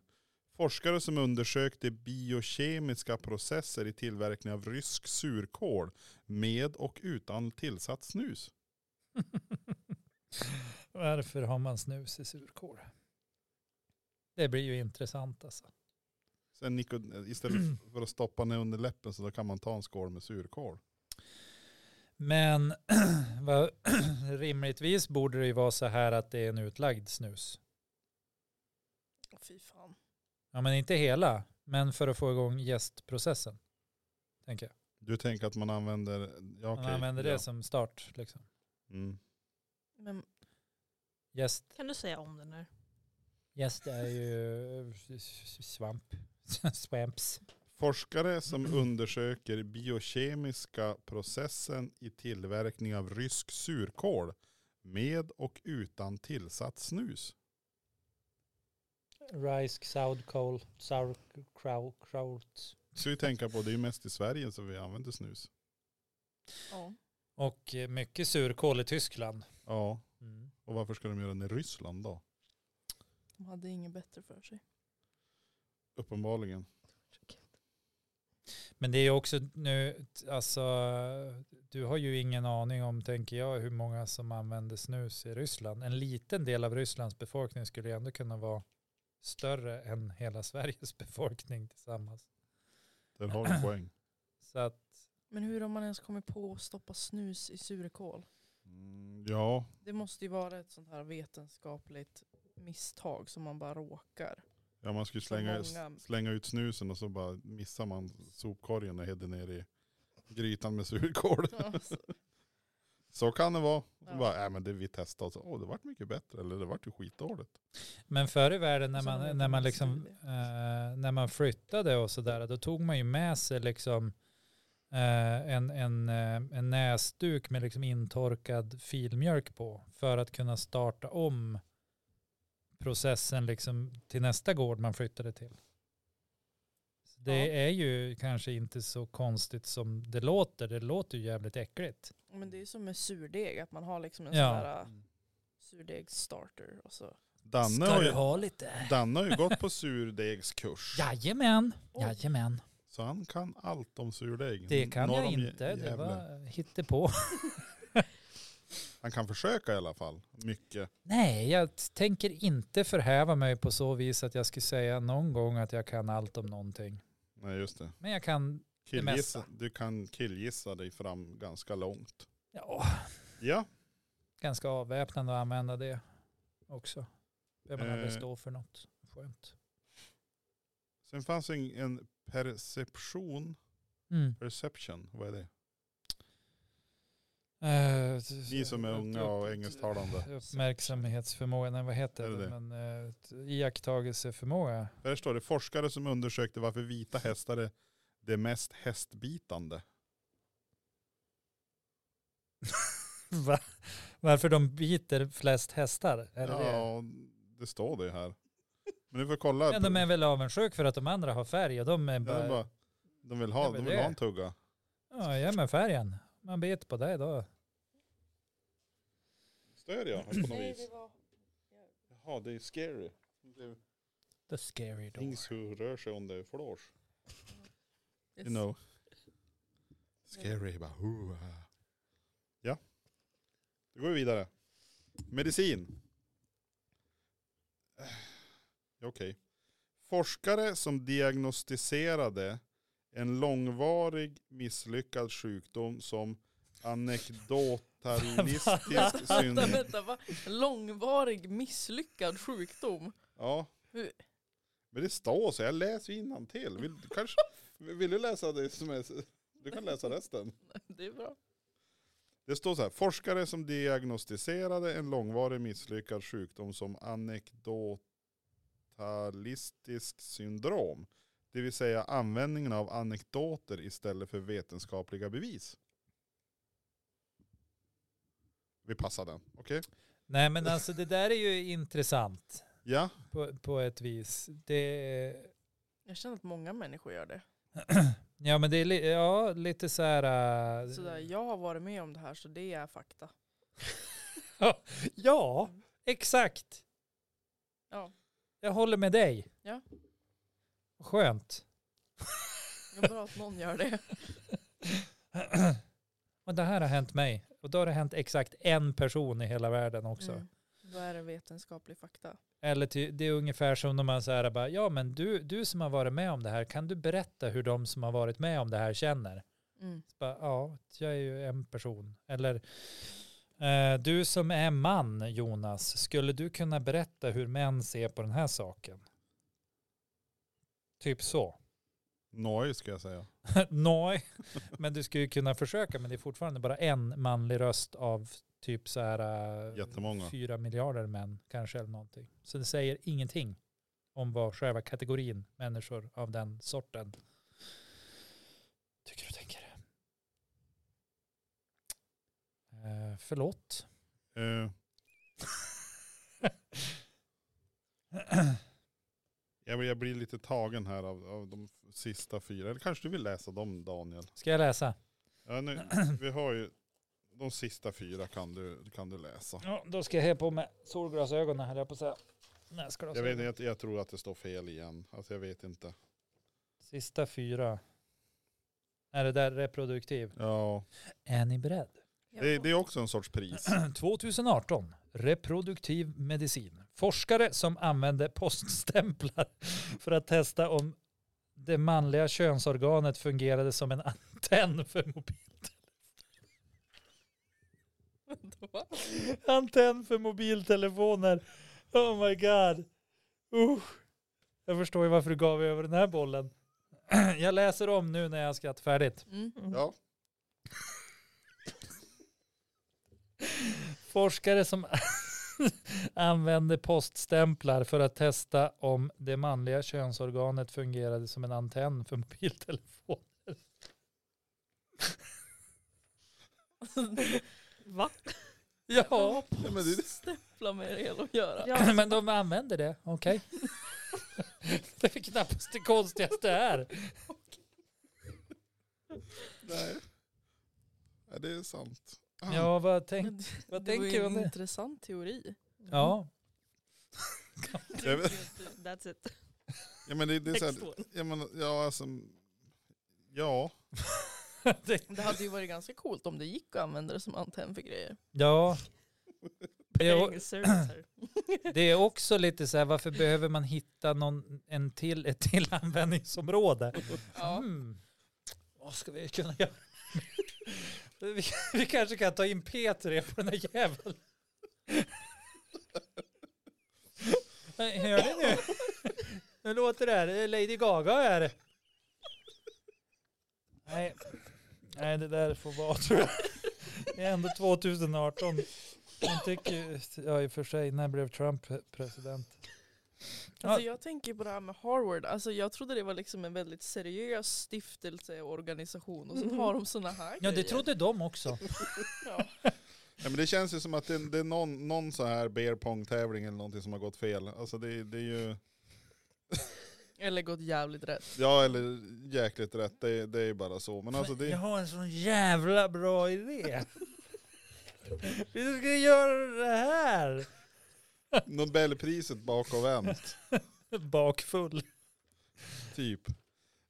Forskare som undersökte biokemiska processer i tillverkning av rysk surkål med och utan tillsatt snus.
Varför har man snus i surkål? Det blir ju intressant alltså.
Sen Nico, istället för att stoppa ner under läppen så då kan man ta en skål med surkål.
Men vad- rimligtvis borde det ju vara så här att det är en utlagd snus.
Åh, Fy fan.
Ja men inte hela, men för att få igång gästprocessen. Tänker jag.
Du tänker att man använder, ja,
Man
okej,
använder det
ja.
som start. Liksom.
Mm.
Men
Gäst,
Kan du säga om den här?
gäst är ju eh, svamp. Swamps.
Forskare som undersöker biokemiska processen i tillverkning av rysk surkål med och utan tillsatt snus.
Rice, sourd coal, sour crow, crowt.
Ska vi tänka på, det är ju mest i Sverige som vi använder snus.
ja.
Och eh, mycket surkål i Tyskland.
Ja,
Mm.
och varför ska de göra den i Ryssland då?
de hade inget bättre för sig.
Uppenbarligen.
Men det är ju också nu, t- alltså du har ju ingen aning om, tänker jag, hur många som använder snus i Ryssland. En liten del av Rysslands befolkning skulle ju ändå kunna vara större än hela Sveriges befolkning tillsammans.
Där har du en poäng.
Så att,
Men hur har man ens kommit på att stoppa snus i surkål?
Mm, ja,
Det måste ju vara ett sånt här vetenskapligt misstag som man bara råkar.
ja, man skulle
Så
slänga,
många-
slänga ut snusen och så bara missar man sopkorgen och hädde ner i grytan med surkål.
Alltså,
Så kan det vara.
Ja.
Så bara, äh, men det vi testade och så, åh det vart mycket bättre. Eller det vart ju skitdåligt.
men förr i världen när
Och så har
man,
jag
när man,
en
liksom,
studie.
eh, när man flyttade och sådär, då tog man ju med sig liksom eh, en, en, eh, en näsduk med liksom intorkad filmjölk på för att kunna starta om processen liksom till nästa gård man flyttade till. Så det
Ja.
är ju kanske inte så konstigt som det låter. Det låter ju jävligt äckligt.
Men det är ju som med surdeg, att man har liksom en
Ja.
sån här äh, surdegsstarter och så.
Danne har, ju,
ha lite?
Danne har ju gått på surdegskurs.
Jajamän,
Oj.
jajamän.
Så han kan allt om surdeg.
Det kan
Norr
jag
om Gä-
inte. Det
Gävle.
var hittepå.
Han kan försöka i alla fall. Mycket.
Nej, jag t- tänker inte förhäva mig på så vis att jag skulle säga någon gång att jag kan allt om någonting.
Nej just det.
Men jag kan,
Killgissa,
mesta.
du kan killgissa dig fram ganska långt.
ja,
Ja,
ganska avväpnande att använda det också. Behöver man aldrig
Eh.
stå för något. Skönt.
sen fanns en, en perception.
Mm.
Perception, vad är det?
Eh,
Ni som är
upp-
unga
upp-
och engelsktalande.
Uppmärksamhetsförmåga, nej vad heter
Är det
det?
det?
Men, eh, t- iakttagelseförmåga.
Där står det forskare som undersökte varför vita hästar är det mest hästbitande.
Va? Varför de biter flest hästar? Är det det?
ja, det står det här. Men du får kolla.
Ja,
på-
de är väl avundsjuka för att de andra har färg och de är
Ja, de,
bara,
bara, de vill, ha,
Ja,
de
men
vill
det-
ha en tugga.
ja, ja men färgen. Man bet på det då.
Stör jag på något
Nej,
vis?
det var...
Jaha, det är scary. Det är
The scary dog.
things who rör sig on the floors.
Yes.
You know. Scary, bara hoo, ah. Ja. Då går vi vidare. Medicin. Eh, Okej. Forskare som diagnostiserade en långvarig misslyckad sjukdom som anekdotalistisk
Vänta,
syndrom.
vänta, va? Långvarig misslyckad sjukdom.
Ja.
Hur-
Men det står så, jag läser innantill. Vill, du kanske, vill du läsa det som är, du kan läsa resten.
Det är bra.
Det står så här, forskare som diagnostiserade en långvarig misslyckad sjukdom som anekdotalistisk syndrom. Det vill säga användningen av anekdoter istället för vetenskapliga bevis. Vi passar den, okej?
Nej men alltså det där är ju intressant
Ja,
på, på ett vis. Det,
Jag känner att många människor gör det.
ja men det är li, ja, lite så här. äh,
Sådär, jag har varit med om det här så det är fakta.
Ja, exakt.
Ja.
Jag håller med dig.
Ja.
Skönt.
Det är bra att någon gör det.
Och det här har hänt mig. Och då har det hänt exakt en person i hela världen också.
Mm. Då är det vetenskaplig fakta.
Eller ty, det är ungefär som när man säger bara, ja men du, du som har varit med om det här, kan du berätta hur de som har varit med om det här känner?
Mm.
Så bara, ja, jag är ju en person. Eller, eh, du som är man Jonas, skulle du kunna berätta hur män ser på den här saken? Typ så.
noj ska jag säga.
Nej, men du skulle ju kunna försöka, men det är fortfarande bara en manlig röst av typ så här eh,
Jättemånga.
fyra miljarder män kanske eller någonting. Så det säger ingenting om vad själva kategorin människor av den sorten tycker och tänker. Eh, förlåt.
Eh, Jag blir, jag blir lite tagen här av, av de f- sista fyra. Eller kanske du vill läsa dem Daniel?
Ska jag läsa?
Ja, nu, vi har ju de sista fyra kan du, kan du läsa.
Ja, då ska jag ha på med solglasögonen höll jag på att säga. Näsglasögon.
Jag, vet, jag, jag tror att det står fel igen. Alltså jag vet inte.
Sista fyra. Är det där reproduktiv?
Ja.
Är ni beredd?
Det, det är också en sorts pris.
2018, reproduktiv medicin. Forskare som använde poststämplar för att testa om det manliga könsorganet fungerade som en antenn för mobil.
Vadå?
Antenn för mobiltelefoner. Oh my god. Usch. Jag förstår ju varför du gav över den här bollen. Jag läser om nu när jag har skrattat färdigt.
Mm.
Ja.
Forskare som använde poststämplar för att testa om det manliga könsorganet fungerade som en antenn för mobiltelefoner.
Va?
Ja,
ja men det,
Stämpla med det hela att göra.
Ja.
men de använder det. Okej. Det är knappast det konstigaste här.
nej. Ja, det är sant. Ah.
Ja, vad
Men
tänk,
det-
vad
det var
tänker
ju
du
en
om det?
intressant teori.
Ja,
Jag vet-
That's it.
Ja men det, det är så
Next
här,
one.
ja, men, ja alltså, ja.
det,
Det hade ju varit ganska coolt om det gick att använda det som antenn för grejer.
ja. Det är,
Paying service här.
det är också lite så här, varför behöver man hitta någon, en till, ett till användningsområde?
Ja.
Mm. Vad ska vi kunna göra? vi, vi kanske kan ta in Peter igen på den här jäveln. Nej, Hör ni nu? Nu låter det här. Det är Lady Gaga här. Nej. Nej, det där får vara tror jag. Det är ändå 2018. Jag tycker ju- ja i och för sig, när blev Trump president?
Alltså jag tänker på det här med Harvard. Alltså jag trodde det var liksom en väldigt seriös stiftelse och organisation och sen har de sådana här
Ja, det
grejer.
trodde de också.
Ja.
Ja, men det känns ju som att det, det är någon, någon så här beer pong tävling eller någonting som har gått fel. Alltså det, det är ju,
Eller gått jävligt rätt.
ja eller jäkligt rätt, det, det är ju bara så. Men alltså
Jag
det,
har en sån jävla bra idé. Vi ska göra det här.
Nobelpriset bakåtvänt,
Bakfull.
typ.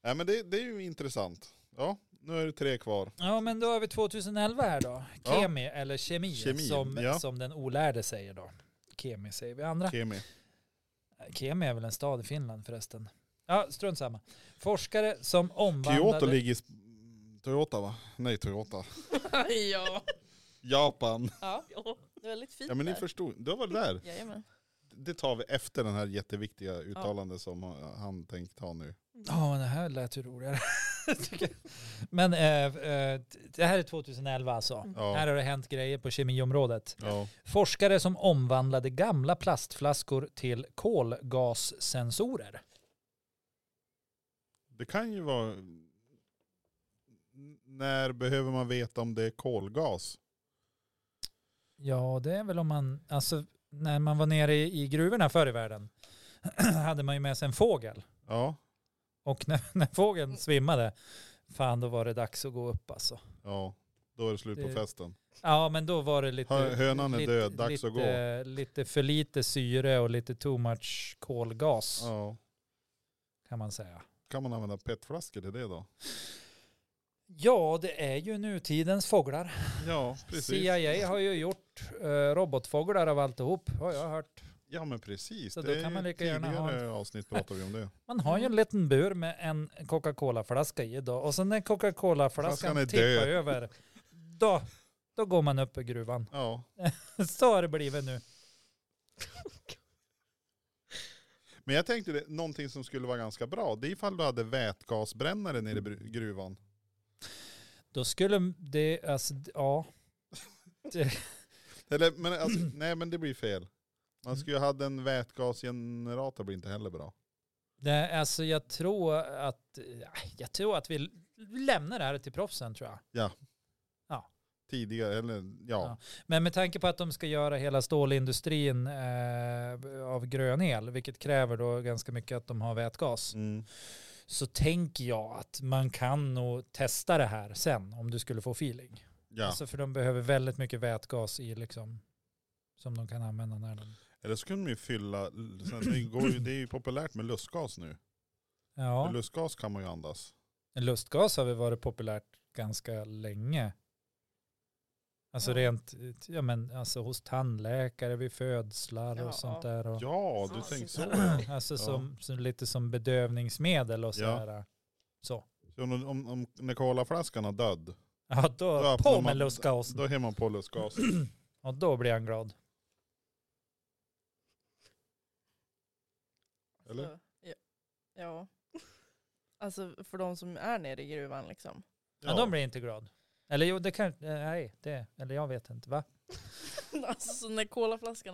Ja men det, det är ju intressant. Ja, nu är det tre kvar.
Ja, men då har vi 2011 här då.
Ja.
Kemi, eller kemi,
Kemi,
som,
ja.
som den olärde säger då. Kemi säger vi andra.
Kemi.
Kemi är väl en stad i Finland förresten. Ja, strunt samma. Forskare som omvandlade...
Kyoto ligger i Sp- Toyota va? Nej Toyota.
ja.
Japan.
ja. Det är väldigt fint
Ja men ni
där.
förstod, du var där.
Jajamän.
Det tar vi efter den här jätteviktiga uttalandet som han tänkt ha nu.
Ja, det här lät ju roligare. tycker jag. men eh, eh, det här är 2011 alltså.
Ja.
Här har det hänt grejer på kemiområdet.
Ja.
Forskare som omvandlade gamla plastflaskor till kolgassensorer.
Det kan ju vara... N- När behöver man veta om det är kolgas?
Ja, det är väl om man, alltså när man var nere i, i gruvorna förr i världen hade man ju med sig en fågel.
Ja.
Och när, när fågeln svimmade, fan då var det dags att gå upp alltså.
ja. Då är det slut på
Det-
festen.
Ja, men då var det lite...
Hö- hönan är
lite,
död, dags
lite,
att gå.
Lite för lite syre och lite too much kolgas
Ja.
kan man säga.
Kan man använda petflaskor till det då?
Ja, det är ju nutidens fåglar.
Ja, precis.
CIA har ju gjort eh, robotfåglar av alltihop, har jag hört.
Ja men precis.
Så
det
då
är
kan man
ju
lika gärna ha en-
tidigare avsnitt pratade vi om det.
Man har
Mm.
ju en liten bur med en Coca-Cola-flaska i då. Och sen när Coca-Cola-flaskan
Flaskan är
tippar
död.
över, då, då går man upp i gruvan.
Ja.
Så har det blivit nu.
Men jag tänkte det, någonting som skulle vara ganska bra. Det är ifall du hade vätgasbrännare nere i
Mm.
bru- gruvan.
Då skulle det, alltså, ja.
Eller, men alltså, nej men det blir fel. Man skulle ju ha en vätgasgenerator blir inte heller bra.
Det, alltså jag tror att, jag tror att vi lämnar det här till proffsen tror jag.
Tidigare, eller ja.
Ja. Men med tanke på att de ska göra hela stålindustrin eh, av grön el, vilket kräver då ganska mycket att de har vätgas,
Mm.
så tänker jag att man kan nog testa det här sen om du skulle få feeling.
ja.
Alltså för de behöver väldigt mycket vätgas i liksom som de kan använda när de...
Eller så kunde man ju fylla, l- sen, det, går ju, det är ju populärt med lustgas nu. För
Ja,
Lustgas kan man ju andas.
lustgas har väl varit populärt ganska länge. Alltså
Ja.
rent, ja men alltså hos tandläkare vid födslar
Ja.
och sånt där. Och,
Ja, du
Ja,
tänkte så.
så-
ja.
Alltså
Ja.
som, som, lite som bedövningsmedel och
Ja.
sådär. Ja. Så.
Så om, om, om när colaflaskan är död,
Ja, då,
Ja,
på
när
med
man-
lustgasen.
då har man på lustgas.
Och då blir han glad.
Eller?
Alltså, ja. ja. Alltså för de som är nere i gruvan liksom.
Men de blir inte glad. Eller jo, det kan, eh, nej, det, eller jag vet inte, va?
alltså så när kolaflaskan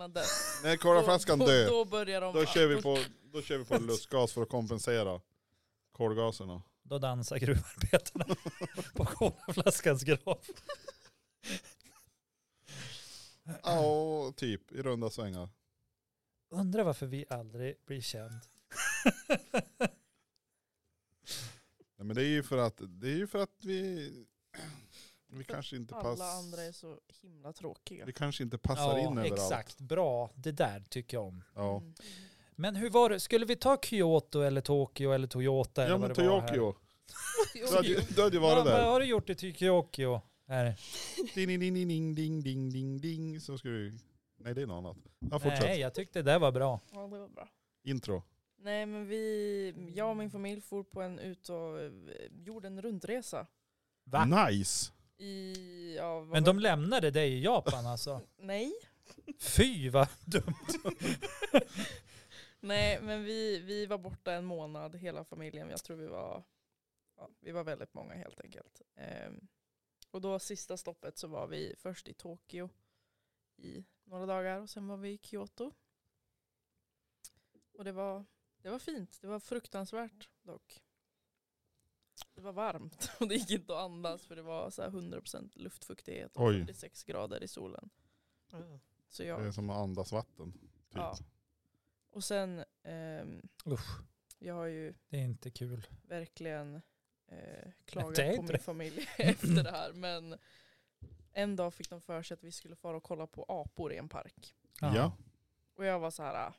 har dött.
När colaflaskan
då,
dör,
Då börjar de.
då kör vi på, då kör vi på lustgas för att kompensera kolgaserna.
Då dansar gruvarbetarna på colaflaskans grav.
Ja, typ i runda svängar.
Undrar varför vi aldrig blir känd.
Nej, men det är ju för att, det är ju för att vi, vi kanske inte
Alla
passar.
andra är så himla tråkiga.
Vi kanske inte passar in överallt.
exakt. Bra, det där tycker jag om.
Ja,
Mm.
Men hur var det, skulle vi ta Kyoto eller Tokyo eller Toyota?
ja
eller
men
vad det var här?
Tokyo.
Jo,
Du hade ju-
jo.
du hade ju varit
Vad- Vad
där.
har du gjort i Tokyo? Här.
Ding, ding, ding, ding, ding, ding, ding, ding. Så ska du... Nej, det är något annat. Ja, fortsätt.
Nej, jag tyckte det där var bra.
Ja, det var bra.
Intro.
Nej men vi, jag och
Mm.
min familj for på en ut och eh, gjorde en rundresa.
Va?
Mm. Nice.
I, ja, vad
Men
var-
de lämnade dig i Japan alltså.
Nej.
Fy vad dumt.
Nej men vi, vi var borta en månad hela familjen. Jag tror vi var, ja, vi var väldigt många helt enkelt. Ehm, och då sista stoppet så var vi först i Tokyo i några dagar och sen var vi i Kyoto. Och det var, det var fint. Det var fruktansvärt dock. Det var varmt och det gick inte att andas för det var så här 100% luftfuktighet och
Oj.
46 grader i solen.
Mm.
Så
Det
jag,
är som att andas vatten. Typ.
Ja. och sen, ehm,
Usch,
jag har ju
det är inte kul.
verkligen eh,
det är
klagat på
inte
min
det.
familj efter det här. Men en dag fick de för sig att vi skulle fara och kolla på apor i en park.
Ja.
Och jag var så här, ah,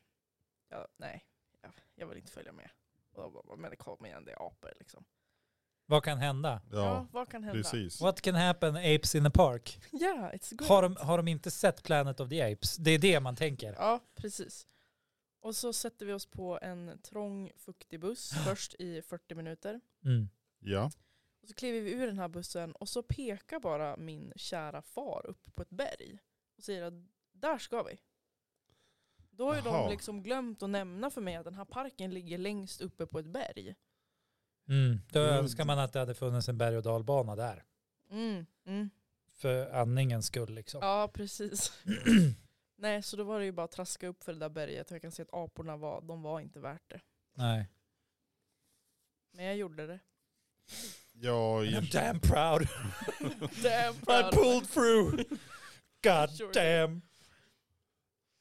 ja, nej, jag, jag vill inte följa med. Och de bara, men kom igen, det är apor liksom.
Vad kan hända?
Ja,
Ja,
vad kan hända?
precis.
What can happen apes in the park?
Ja, yeah, it's good.
Har de, har de inte sett Planet of the Apes? Det är det man tänker.
Ja, precis. Och så sätter vi oss på en trång, fuktig buss först i 40 minuter.
Mm.
Ja.
Och så kliver vi ur den här bussen och så pekar bara min kära far upp på ett berg och säger att där ska vi. Då har ju
Jaha.
de liksom glömt att nämna för mig att den här parken ligger längst uppe på ett berg.
Mm. Då
Mm.
önskar man att det hade funnits en berg och dalbana där.
Mm, mm.
För andningens skull liksom.
Ja, precis. Nej, så då var det ju bara att traska upp för det där berget och jag kan se att aporna var, de var inte värt det.
Nej.
Men jag gjorde det.
Ja, i-
I'm damn proud.
Damn
I
proud.
pulled through. God
Sure.
damn.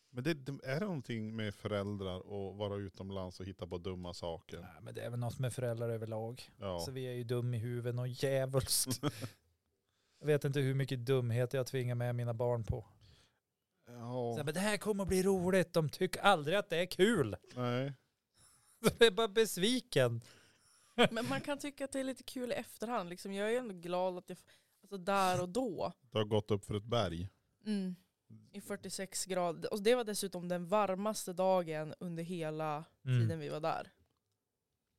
men det, det- är det någonting med föräldrar och vara utomlands och hitta på dumma saker?
Nej, men det är väl något med föräldrar överlag.
Ja.
Så vi är ju dum i huven och djävulskt. jag vet inte hur mycket dumhet jag tvingar med mina barn på. Så, här,
ja.
men det här kommer att bli roligt. De tycker aldrig att det är kul.
Nej.
De är bara besviken.
Men man kan tycka att det är lite kul i efterhand. Liksom, jag är ju ändå glad att jag, alltså där och då,
Du har gått upp för ett berg.
Mm. I 46 grader. Och det var dessutom den varmaste dagen under hela
Mm.
tiden vi var där.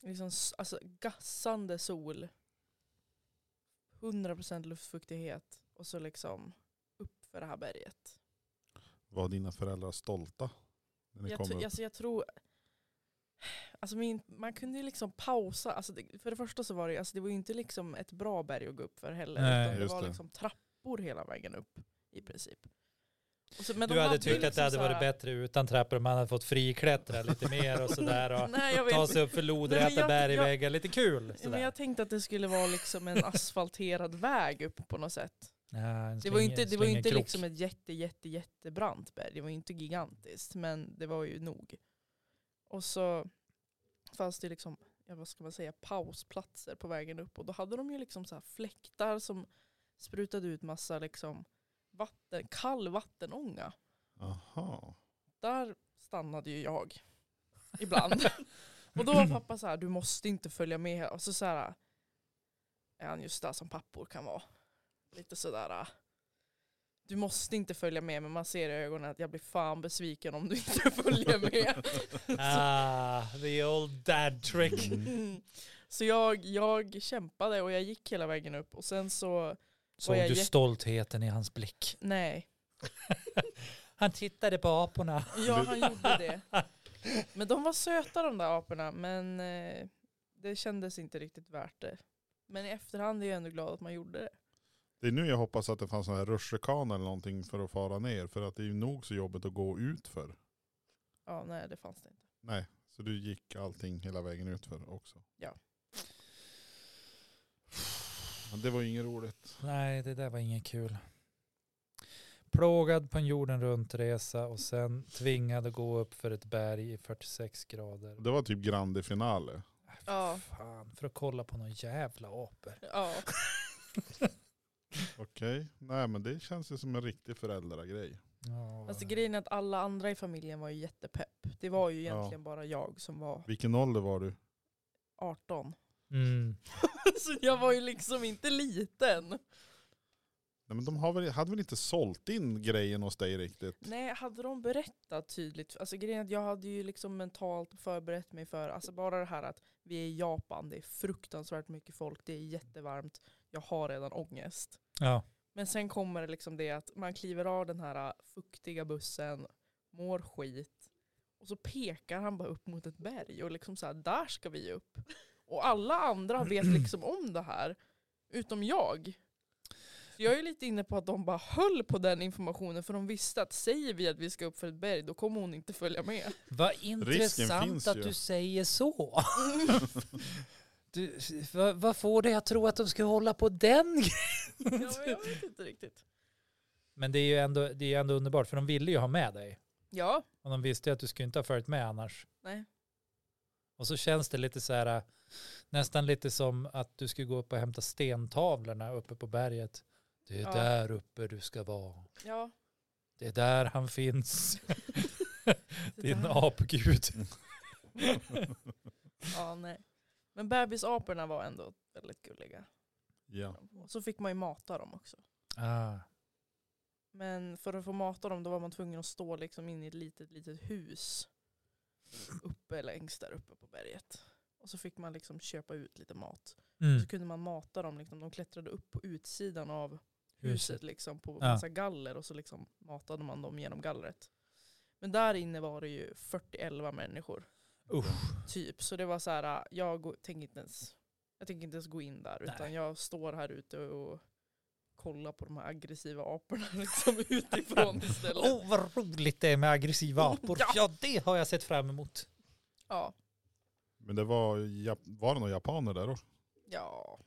Liksom, s- alltså, gassande sol. 100% luftfuktighet. Och så liksom upp för det här berget.
Var dina föräldrar stolta? När ni
Jag,
kom
tro-
upp?
alltså, jag tror... Alltså min, man kunde ju liksom pausa. Alltså det, för det första så var det, ju- alltså det var ju inte liksom ett bra berg att gå upp för heller.
Nej,
utan det
just
var
det.
liksom trappor hela vägen upp i princip. Och så, men
Du
de
hade
ju
tyckt att det
liksom
hade
så här-
varit bättre utan trappor om man hade fått friklättra lite mer och sådär. Och
Nej, jag vet.
ta sig upp för
Nej,
lodräta
men jag- jag-
bergväggar. Lite kul.
Ja, Men
Sådär.
jag tänkte att det skulle vara liksom en asfalterad väg upp på något sätt.
Ja, Ah, en
Det var ju
slinge-
inte, det var ju inte
slingerkrok.
liksom ett jätte, jätte, jättebrant berg. Det var ju inte gigantiskt, men det var ju nog. Och så fanns det liksom, ja, vad ska man säga, pausplatser på vägen upp. Och då hade de ju liksom så här fläktar som sprutade ut massa liksom vatten, kall vattenånga.
Aha.
Där stannade ju jag ibland. Och då var pappa så här, du måste inte följa med. här." Och så, så här, är han just där som pappor kan vara. Lite sådär, du måste inte följa med men man ser i ögonen att jag blir fan besviken om du inte följer med.
Ah, the old dad trick.
Mm. Så jag, jag kämpade och jag gick hela vägen upp och sen så,
Såg
jag
du
jätte-
stoltheten i hans blick?
nej.
Han tittade på aporna.
Ja han gjorde det. Men de var söta de där aporna men eh, det kändes inte riktigt värt det. Men i efterhand är jag ändå glad att man gjorde det.
Det är nu jag hoppas att det fanns sån här rutschkana eller någonting för att fara ner. För att det är ju nog så jobbigt att gå ut för.
Ja nej det fanns det inte.
Nej, så du gick allting hela vägen ut för också.
Ja.
Men det var ju inget roligt.
Nej, det där var inget kul. Plågad på en jorden runt-resa och sen tvingad att gå upp för ett berg i 46 grader.
Det var typ grande finale.
Äh, fy
Ja.
Fan, för att kolla på någon jävla apor.
Ja.
Okej, nej men det känns ju som en riktig föräldragrej.
Ja,
Alltså grejen är att alla andra i familjen var ju jättepepp. Det var ju
Ja.
egentligen bara jag som var
Vilken ålder var du?
18.
Mm.
Så jag var ju liksom inte liten.
Nej men de har väl, hade väl inte sålt in grejen hos dig riktigt?
Nej, hade de berättat tydligt? Alltså grejen är att jag hade ju liksom mentalt förberett mig för, alltså bara det här att vi är i Japan, det är fruktansvärt mycket folk, det är jättevarmt, jag har redan ångest.
Ja.
Men sen kommer det liksom det att man kliver av den här äh, fuktiga bussen, mår skit. Och så pekar han bara upp mot ett berg och liksom så här, där ska vi upp. Och alla andra vet liksom om det här, utom jag. Så jag är lite inne på att de bara höll på den informationen för de visste att säger vi att vi ska upp för ett berg då kommer hon inte följa med.
Vad
finns
intressant att
ju.
du säger så. Du, vad, vad får dig att tro att de ska hålla på den
Ja, men jag vet inte riktigt.
Men det är ju ändå, det är ju ändå underbart, för de ville ju ha med dig.
Ja,
Och de visste ju att du skulle inte ha följt med annars.
nej.
Och så känns det lite så här, äh, nästan lite som att du skulle gå upp och hämta stentavlorna uppe på berget. Det är
Ja.
där uppe du ska vara.
Ja.
Det är där han finns,
det
din
där.
apgud.
Ja, nej. Men bebisaporna var ändå väldigt gulliga.
Ja.
Och så fick man ju mata dem också.
Ah,
Men för att få mata dem då var man tvungen att stå liksom in i ett litet, litet hus. Uppe längst där uppe på berget. Och så fick man liksom köpa ut lite mat.
mm.
Så kunde man mata dem, liksom, de klättrade upp på utsidan av
Huset.
huset liksom, på
Mm. Ja.
massa galler och så liksom matade man dem genom gallret. Men där inne var det ju 40-11 människor.
Usch.
Typ. Så det var så här, jag gå- tänker inte ens, jag tänker inte ens gå in där. Utan
Nej.
jag står här ute och kollar på de här aggressiva aporna liksom utifrån istället.
Åh, vad roligt det är med aggressiva apor.
Oh, Ja.
Ja, det har jag sett fram emot.
Ja.
Men det var, jap- var det några japaner där då?
Ja.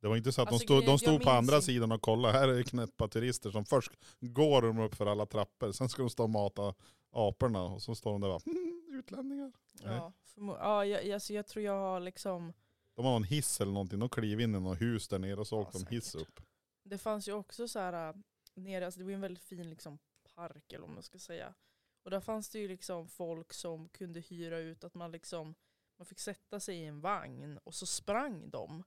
Det var inte så att
Alltså,
de stod,
grejen-
de
jag
stod på
minns
andra
inte.
sidan och kollade, här är knäppa turister som först går de upp för alla trappor, sen ska de stå och mata aporna och så står de där och bara, "Hmm, utlänningar. Nej.
Ja, förmo- ja jag, jag, alltså jag tror jag har liksom,
De har en hiss eller någonting, de klev in i något hus där nere och så
Ja,
åkte de hiss
säkert.
upp.
det fanns ju också så här äh, nere, alltså det var ju en väldigt fin liksom park eller vad man ska säga. Och där fanns det ju liksom folk som kunde hyra ut att man liksom, man fick sätta sig i en vagn och så sprang de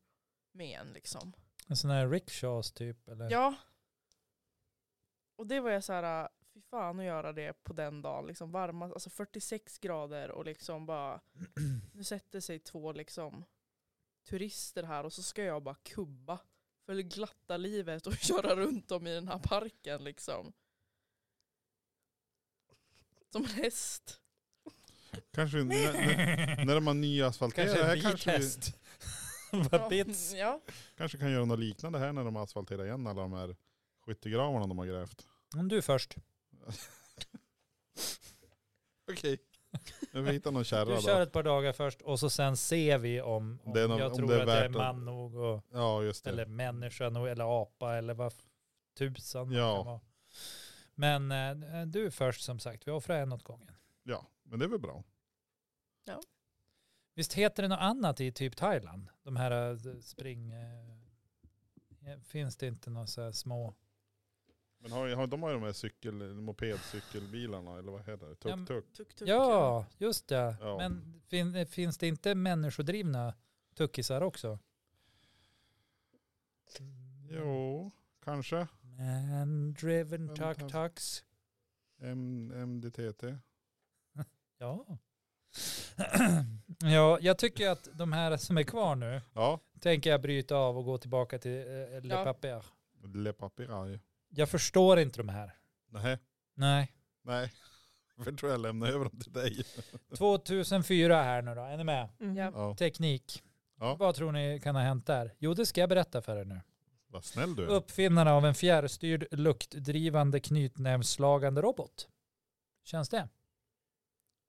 med en liksom.
En sån här rickshaws typ. Eller?
Ja. Och det var jag så här, äh, fy fan att göra det på den dagen. Liksom varma, alltså 46 grader och liksom bara, nu sätter sig två liksom turister här och så ska jag bara kubba för det glatta livet och köra runt dem i den här parken liksom. Som en häst.
Kanske när, när man nyasfalterar
Kanske
här
en
kanske, vi,
bitest. Vad bits.
Ja, ja.
kanske kan göra något liknande här när de asfalterar igen alla de här skyttegravarna de har grävt.
Om du först.
Okej. Jag vill hitta någon kärra
Du kör
då.
ett par dagar först och så sen ser vi om, om
Det är någon-
jag
om
tror
det är
att jag är
värt att-
man nog och,
Ja just det.
eller människa nog eller apa eller vad f- tusan man
Ja.
kan vara. Men eh, du är först som sagt, vi offrar en åt gången.
Ja, men det är väl bra.
Visst heter det något annat i typ Thailand? De här eh, spring... Eh, finns det inte några så här små...
Men har, har, de har ju de här cykel, mopedcykelbilarna eller vad heter det?
Ja, men-
Tuk-tuk.
Tuk, tuk,
Ja, just det.
Ja.
Men fin, eh, finns det inte människodrivna tuckisar också?
Jo, kanske.
Mm. Man-driven
Men tack.
tuk-tuks.
M- MDTT.
Ja. ja, jag tycker att de här som är kvar nu
Ja,
tänker jag bryta av och gå tillbaka till eh, Le
Ja.
Papier.
Le Papiraille.
Jag förstår inte de här.
Nej,
Nej.
nej. För tror jag lämnar över dem till dig.
2004 här nu då, är ni med?
Mm.
Ja.
Ja,
Teknik.
Ja.
Vad tror ni kan ha hänt där? Jo, det ska jag berätta för er nu.
vad snäll du är.
Uppfinnarna av en fjärrstyrd luktdrivande knytnävsslagande robot. Känns det?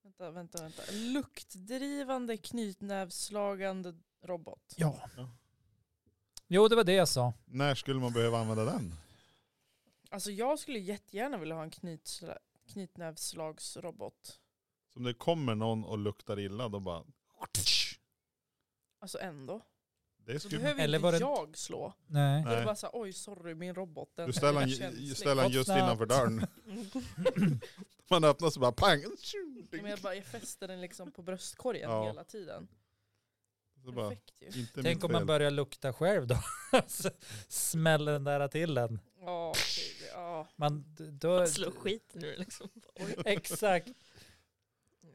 Vänta, vänta, vänta. Luktdrivande knytnävsslagande robot.
Ja.
Ja.
Jo, det var det jag sa.
När skulle man behöva använda den?
Alltså jag skulle jättegärna vilja ha en knytsla- knytnävsslagsrobot.
Som det kommer någon och luktar illa, då bara...
Alltså ändå.
Det
Så
skulle,
behöver
Eller
inte
var det-
jag slå.
Nej.
Då är det
nej.
bara såhär, oj sorry min robot den
Du ställer
är
den ju-
känslig.
ställer den just
Hoppsnatt.
innanför dörren. Man öppnar så bara pang!
Nej, Men jag, bara, jag fäster den liksom på bröstkorgen
Ja.
hela tiden.
Så bara,
Perfekt ju.
inte mitt
Tänk om man
fel.
börjar lukta själv då. Så Smäller den där till en.
Ja, det- det- ja.
Man, då,
Slå skit nu liksom.
exakt.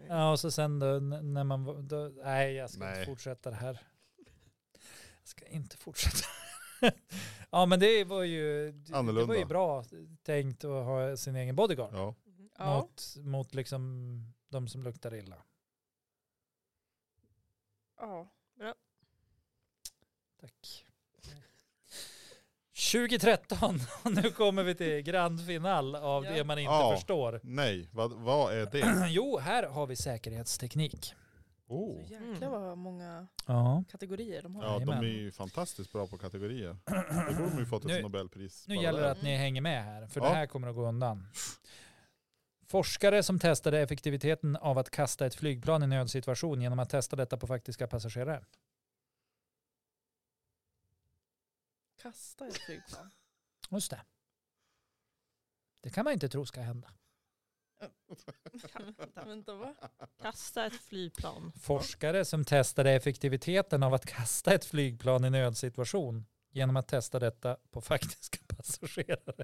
Ja, och så sen då, n- när man... var- Då, nej, jag ska
Nej.
inte fortsätta det här. Jag ska inte fortsätta. ja, men det var ju, det var
Annorlunda.
ju bra tänkt att ha sin egen bodyguard.
Ja.
ja.
Mot, mot liksom de som luktar illa.
ja.
Tack. 2013, och nu kommer vi till grand final av
Ja.
det man inte
Ja.
förstår.
Nej, vad, vad är det?
Jo, här har vi säkerhetsteknik.
Så
Oh.
jäklar vad många
Ja.
kategorier de har.
Ja, de är
Jajamän.
ju fantastiskt bra på kategorier. Då borde de ju fått ett
Nu-
Nobelpris.
Nu
bara
gäller
där.
det att ni hänger med här, för
Ja.
det här kommer att gå undan. Forskare som testade effektiviteten av att kasta ett flygplan i nödsituation genom att testa detta på faktiska passagerare.
Kasta ett flygplan.
Just det. Det kan man inte tro ska hända.
Vänta va?
Kasta ett flygplan.
Forskare som testade effektiviteten av att kasta ett flygplan i nödsituation genom att testa detta på faktiska passagerare.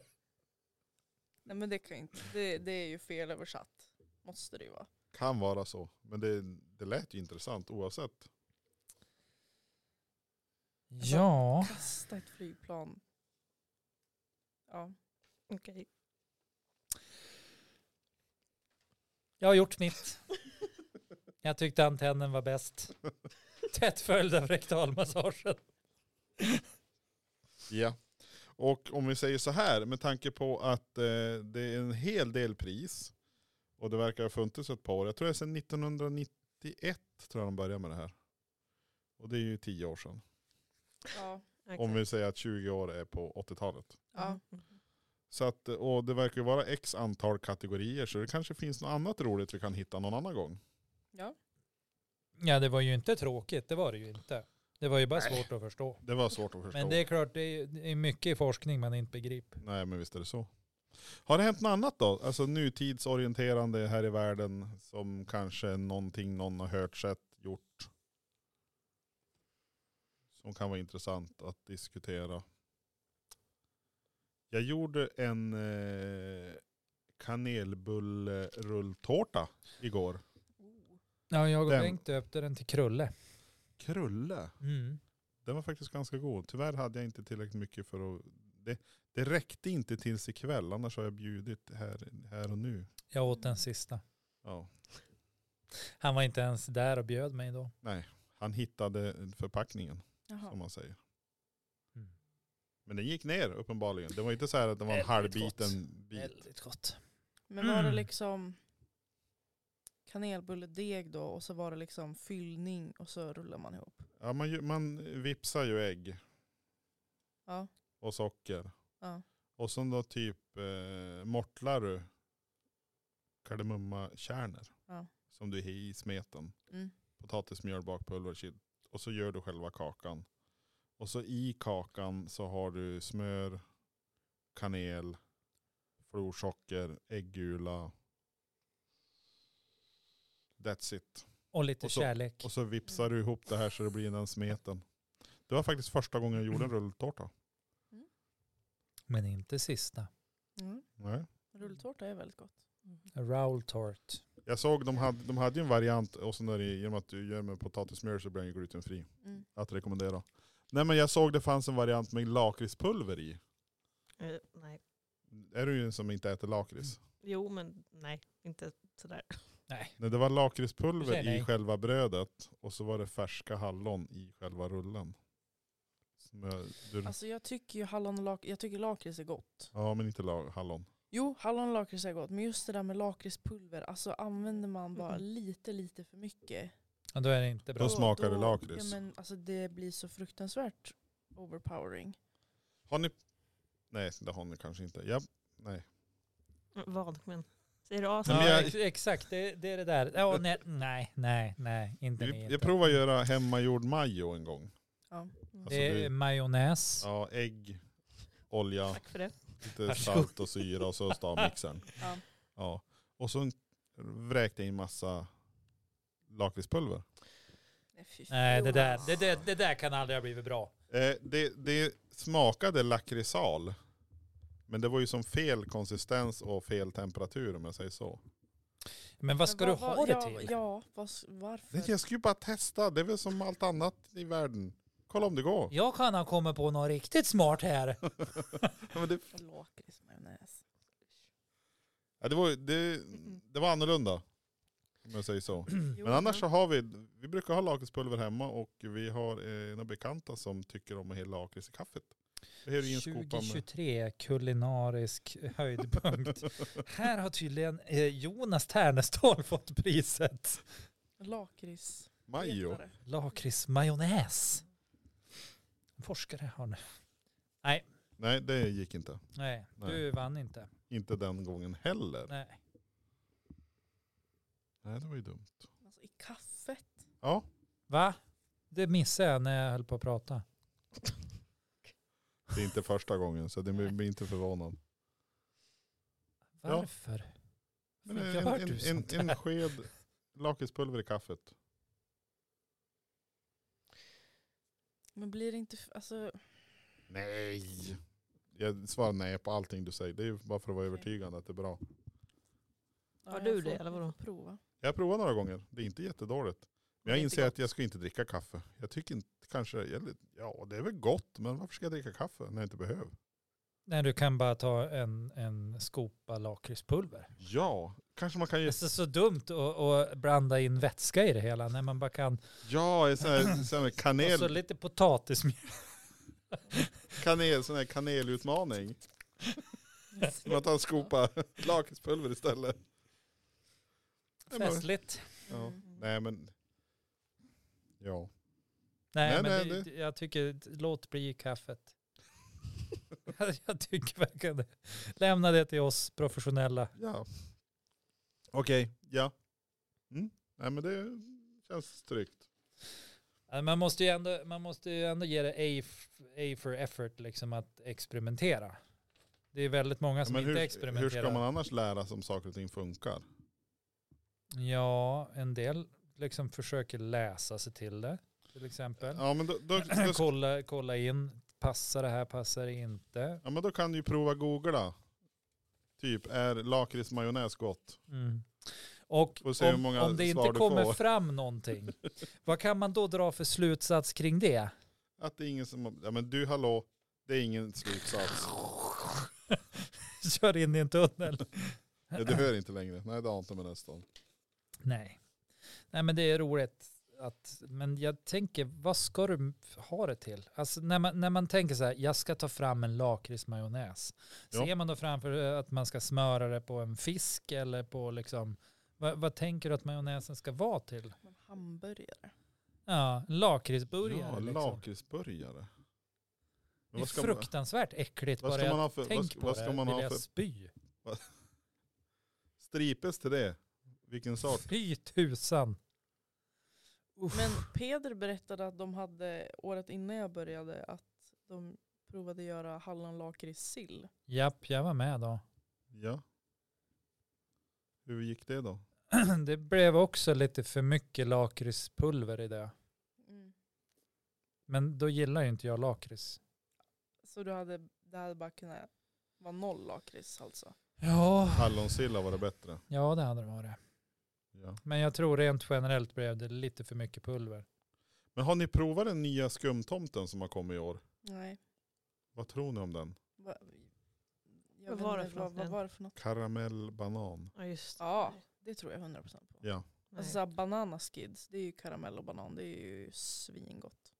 Nej men det kan ju inte, det, det är ju fel översatt. Måste det ju vara.
Kan vara så. Men det, det lät ju intressant oavsett.
Ja,
Kasta ett flygplan. Ja.
Okej.
jag har gjort mitt. Jag tyckte antennen var bäst. Tätt följd av rektalmassagen.
Ja. Och om vi säger så här, med tanke på att eh, det är en hel del pris och det verkar ha funnits ett par år. Jag tror det är sedan 1991 tror jag de började med det här. Och det är ju tio år sedan.
ja.
Om vi säger att 20 år är på 80-talet.
Ja.
Så att, eh, och det verkar ju vara x antal kategorier så det kanske finns något annat roligt vi kan hitta någon annan gång.
Ja, det var ju inte tråkigt, det var det ju inte. Det var ju bara svårt att förstå.
Det var svårt att förstå.
Men det är klart, det är- det är mycket i forskning man inte begriper.
Nej men visst är det så. Har det hänt något annat då? Alltså nutidsorienterande här i världen som kanske är någonting någon har hört, sett, gjort. Som kan vara intressant att diskutera. Jag gjorde en eh, kanelbullrulltårta igår.
Ja, jag och
Den-
Bengt döpte den till Krulle.
Krulle.
Mm.
Den var faktiskt ganska god. Tyvärr hade jag inte tillräckligt mycket för att... Det, det räckte inte tills ikväll, annars har jag bjudit här, här och nu.
Jag åt den sista.
Ja.
Han var inte ens där och bjöd mig då.
Han hittade förpackningen som
Jaha.
man säger.
Mm.
Men den gick ner uppenbarligen. Det var inte så här att det var en
Väldigt
halvbiten bit.
Väldigt gott.
Men var det
Mm.
liksom kanelbulledeg då och så var det liksom fyllning och så rullar man ihop?
Ja, man, ju- man vipsar ju ägg
Ja.
och socker.
Ja.
Och sen då typ eh, mortlar du kardemummakärnor
Ja.
som du har i smeten.
Mm.
Potatismjöl, bakpulver, chili. Och så gör du själva kakan. Och så i kakan så har du smör, kanel, florsocker, äggula. That's it.
Och lite
Och så-
kärlek.
Och så vipsar du ihop det här så det blir den smeten. Det var faktiskt första gången jag gjorde en rulltårta.
Men inte sista.
Mm.
Nej.
Rulltårta är väldigt gott.
Rowl tart.
Jag såg de hade, de hade ju en variant och sen är det, genom att du gör med potatismjöl så blir den ju glutenfri.
Mm.
Att rekommendera. Nej men jag såg det fanns en variant med lakritspulver i.
Eh, nej.
Är du ju en som inte äter lakrits?
Jo, men nej. Inte sådär.
Nej det var
Säg
lakritspulver
nej.
i själva brödet och så var det färska hallon i själva rullen. Som jag,
Mm.
du,
Alltså jag tycker ju hallon och lak- jag tycker lakrits är gott.
ja men inte la, hallon.
Jo, hallon och lakrits är gott. Men just det där med lakritspulver, alltså använder man bara
Mm.
lite, lite för mycket.
Ja, då är det inte bra.
Då smakar det
då-
lakrits.
Ja, men alltså det blir så fruktansvärt overpowering.
Har ni? Nej det har ni kanske inte. Ja, nej.
Mm, Vad? Men säger du A så
Nej, men
Ja,
jag-
ex- exakt, det, det är det där. Ja, nej, nej, nej, nej, inte ni.
Jag,
Inte.
jag provade att göra hemmagjord majo en gång.
Ja.
Alltså,
Det
det-
är majonnäs.
Ja ägg, olja.
tack för det.
Lite salt och syra och så stavmixern.
Ja.
Ja. Och så vräkte jag in massa lakritspulver.
Nej, fy
Nej,
fan.
det där, det, det, det där kan aldrig ha blivit bra.
Eh, det, det smakade lakritsal. Men det var ju som fel konsistens och fel temperatur om jag säger så.
Men vad ska
Men
du ha det
ja,
till?
Ja, vad, varför?
Nej, jag skulle ju bara testa. Det är väl som allt annat i världen. Kolla om det går.
Jag kan ha kommit på något riktigt smart här.
Ja, men det,
Lakritsmajonnäs.
ja, det, var, ju- det, det var annorlunda. Om jag säger så.
Mm.
Men annars så har vi, vi brukar ha lakritspulver hemma och vi har eh, några bekanta som tycker om att hälla lakrits i kaffet. Det är ju en skopa med.
2023, kulinarisk höjdpunkt. här har tydligen eh, Jonas Ternestål fått priset.
Lakrits.
Majo.
Fetare.
Lakritsmajonnäs. Forskare har nu.
Nej, det gick inte.
Nej, du
Nej.
vann inte.
Inte den gången heller.
Nej.
Nej, det var ju dumt.
Alltså, I kaffet.
Ja,
Va? Det missade jag när jag höll på att prata.
det är inte första gången så det blir blir inte förvånad. Ja.
Varför?
Men eh, en,
Varför gör
en,
du
en,
sånt
en
här?
sked lakritspulver i kaffet.
Men blir det inte, f- alltså,
Nej. Jag svarar nej på allting du säger. Det är ju bara för att vara
Okej.
övertygande att det är bra.
ja,
Har
jag
du det,
får
eller vadå?
Prova.
Jag har provat några gånger. Det är inte jättedåligt. Men
Det
jag
är inte
inser
gott.
att jag ska inte dricka kaffe. Jag tycker inte kanske, jag- ja det är väl gott men varför ska jag dricka kaffe när jag inte behöver?
Nej, du kan bara ta en, en skopa lakritspulver.
Ja, kanske man kan
Det är
ju,
så, så dumt att, att blanda in vätska i det hela när man bara kan.
ja sån här, sån
Alltså,
här
Och så
kanel,
Alltså, lite potatismjöl.
kanel, sån här kanelutmaning. Som att han skopar lakritspulver istället. Ja, men-
Festligt.
Ja.
Mm.
Nej men, ja.
Nej,
Nej,
men
nej,
det, jag tycker låt bli kaffet. jag, jag tycker verkligen det. Lämna det till oss professionella.
ja. Okej, ja. Mm. Nej men det känns tryggt.
Nej, Äh, Man måste ju ändå, man måste ju ändå ge det A, f- A for effort liksom att experimentera. Det är väldigt många som
men
inte
hur,
experimenterar.
hur ska man annars lära sig om saker och ting funkar?
Ja, en del liksom försöker läsa sig till det till exempel.
Ja men då, då, då,
kolla, kolla in, passar det här, passar det inte?
Ja men då kan du ju prova googla. Typ är lakritsmajonnäs gott?
Mm. Och
Får se hur
om,
många
om det
svar
inte
du
kommer
får.
fram någonting, vad kan man då dra för slutsats kring det?
Att det är ingen som, ja men du hallå, det är ingen slutsats.
Kör in i en tunnel.
Ja, du hör inte längre. Nej det har inte med nästan.
Nej. Nej, men det är roligt. Att, men jag tänker, vad ska du ha det till? Alltså när man, när man tänker så här, jag ska ta fram en lakritsmajonnäs.
Ja.
Ser man då framför eh, att man ska smöra det på en fisk eller på liksom, vad, vad tänker du att majonnäsen ska vara till?
Men hamburgare.
Ja, en lakritsburgare.
Ja,
liksom.
lakritsburgare.
Det
Men
är
vad ska man,
fruktansvärt äckligt.
vad
Bara
ska man
jag
ha för, vad,
tänk
ska-
på
vad ska
det,
man
vill
ha
jag
för,
spy.
stripes till det? Vilken sort?
Fy tusan. Uff.
Men Peder berättade att de hade, året innan jag började, att de provade göra hallonlakritssill.
Japp, jag var med då.
Ja. Hur gick det då?
Det blev också lite för mycket lakritspulver i det.
Mm.
Men då gillar ju inte jag lakrits.
Så du hade, det hade bara kunnat var noll lakrits alltså.
Ja,
Hallonsilla var det bättre.
ja det hade det varit.
Ja.
Men jag tror rent generellt blev det lite för mycket pulver.
Men har ni provat den nya skumtomten som har kommit i år?
Nej.
Vad tror ni om den?
Va, jag
Vad
vet
var
inte,
det för något
Vad
igen?
var det för något?
Karamellbanan.
Ja, just det.
Ja, det tror jag 100% på.
Ja.
Nej.
Alltså så här, banana skids, det är ju karamell och banan, det är ju svingott.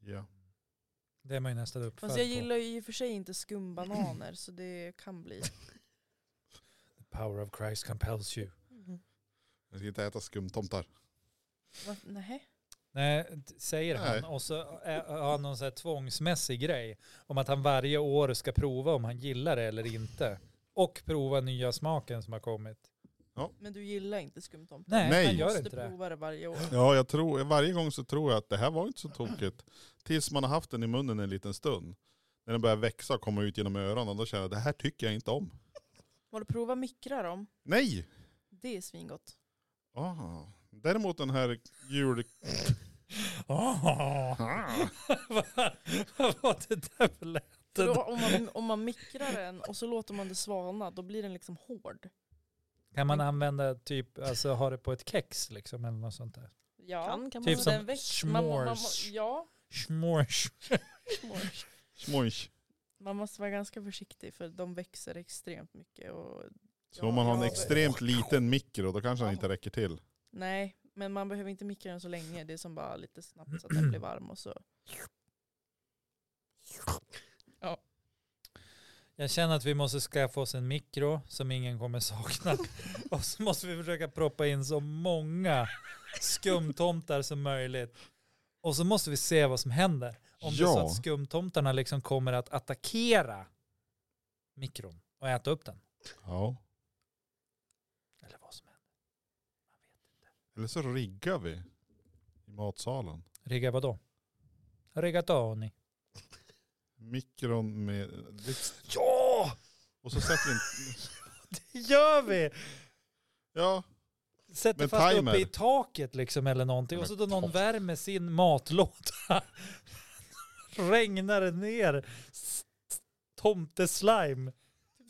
ja.
Det är man ju nästan uppfödd
Fast jag gillar ju i och för sig inte skumbananer så det kan bli.
på. The power of Christ compels you.
Mhm.
Jag ska inte äta skumtomtar.
Varför- Nej.
Nej, t- säger
Nej.
han. Och så ä- har han någon sån här tvångsmässig grej. Om att han varje år ska prova om han gillar det eller inte. Och prova nya smaken som har kommit.
Men du gillar inte skumtomtar?
Nej,
Nej.
han
Du
gör
måste
inte det.
prova det varje år.
Ja, jag tror, varje gång så tror jag att det här var inte så tokigt. Tills man har haft den i munnen en liten stund. När den börjar växa och komma ut genom öronen, då känner jag det här tycker jag inte om.
Har du provat mikra dem?
Nej!
Det är svingott.
Ah. Däremot den här jul...
Åh,
Ah.
vad- Vad var det där för lä-
För Då, om, man, om man mikrar den och så låter man det svalna, då blir den liksom hård.
Kan man använda typ, alltså ha det på ett kex liksom eller något sånt där?
Ja.
Kan, kan man
Typ
väl-
som
den väx- man- man- man-
s'mores.
Ja,
Schmorsch.
s'mores.
Smojs.
Man måste vara ganska försiktig för de växer extremt mycket. Och,
Så om man har en
Ja, det-
extremt liten mikro, då kanske den inte räcker till.
nej, men man behöver inte mikra den så länge. Det är som bara lite snabbt så att den blir varm och så.
Jag känner att vi måste skaffa oss en mikro som ingen kommer sakna. Och så måste vi försöka proppa in så många skumtomtar som möjligt. Och så måste vi se vad som händer. Om det är så
Ja.
att skumtomtarna liksom kommer att attackera mikron och äta upp den.
Ja.
Eller vad som händer. Man vet inte.
Eller så riggar vi i matsalen.
Rigga vadå? Rigatoni.
Mikron med...
Ja!
Och så sätter vi en...
Det gör vi!
Ja.
Sätter
Men
fast
timer.
uppe i taket liksom eller någonting. Och så då någon
Men-
värmer sin matlåda. Regnar det ner s- s- tomteslime.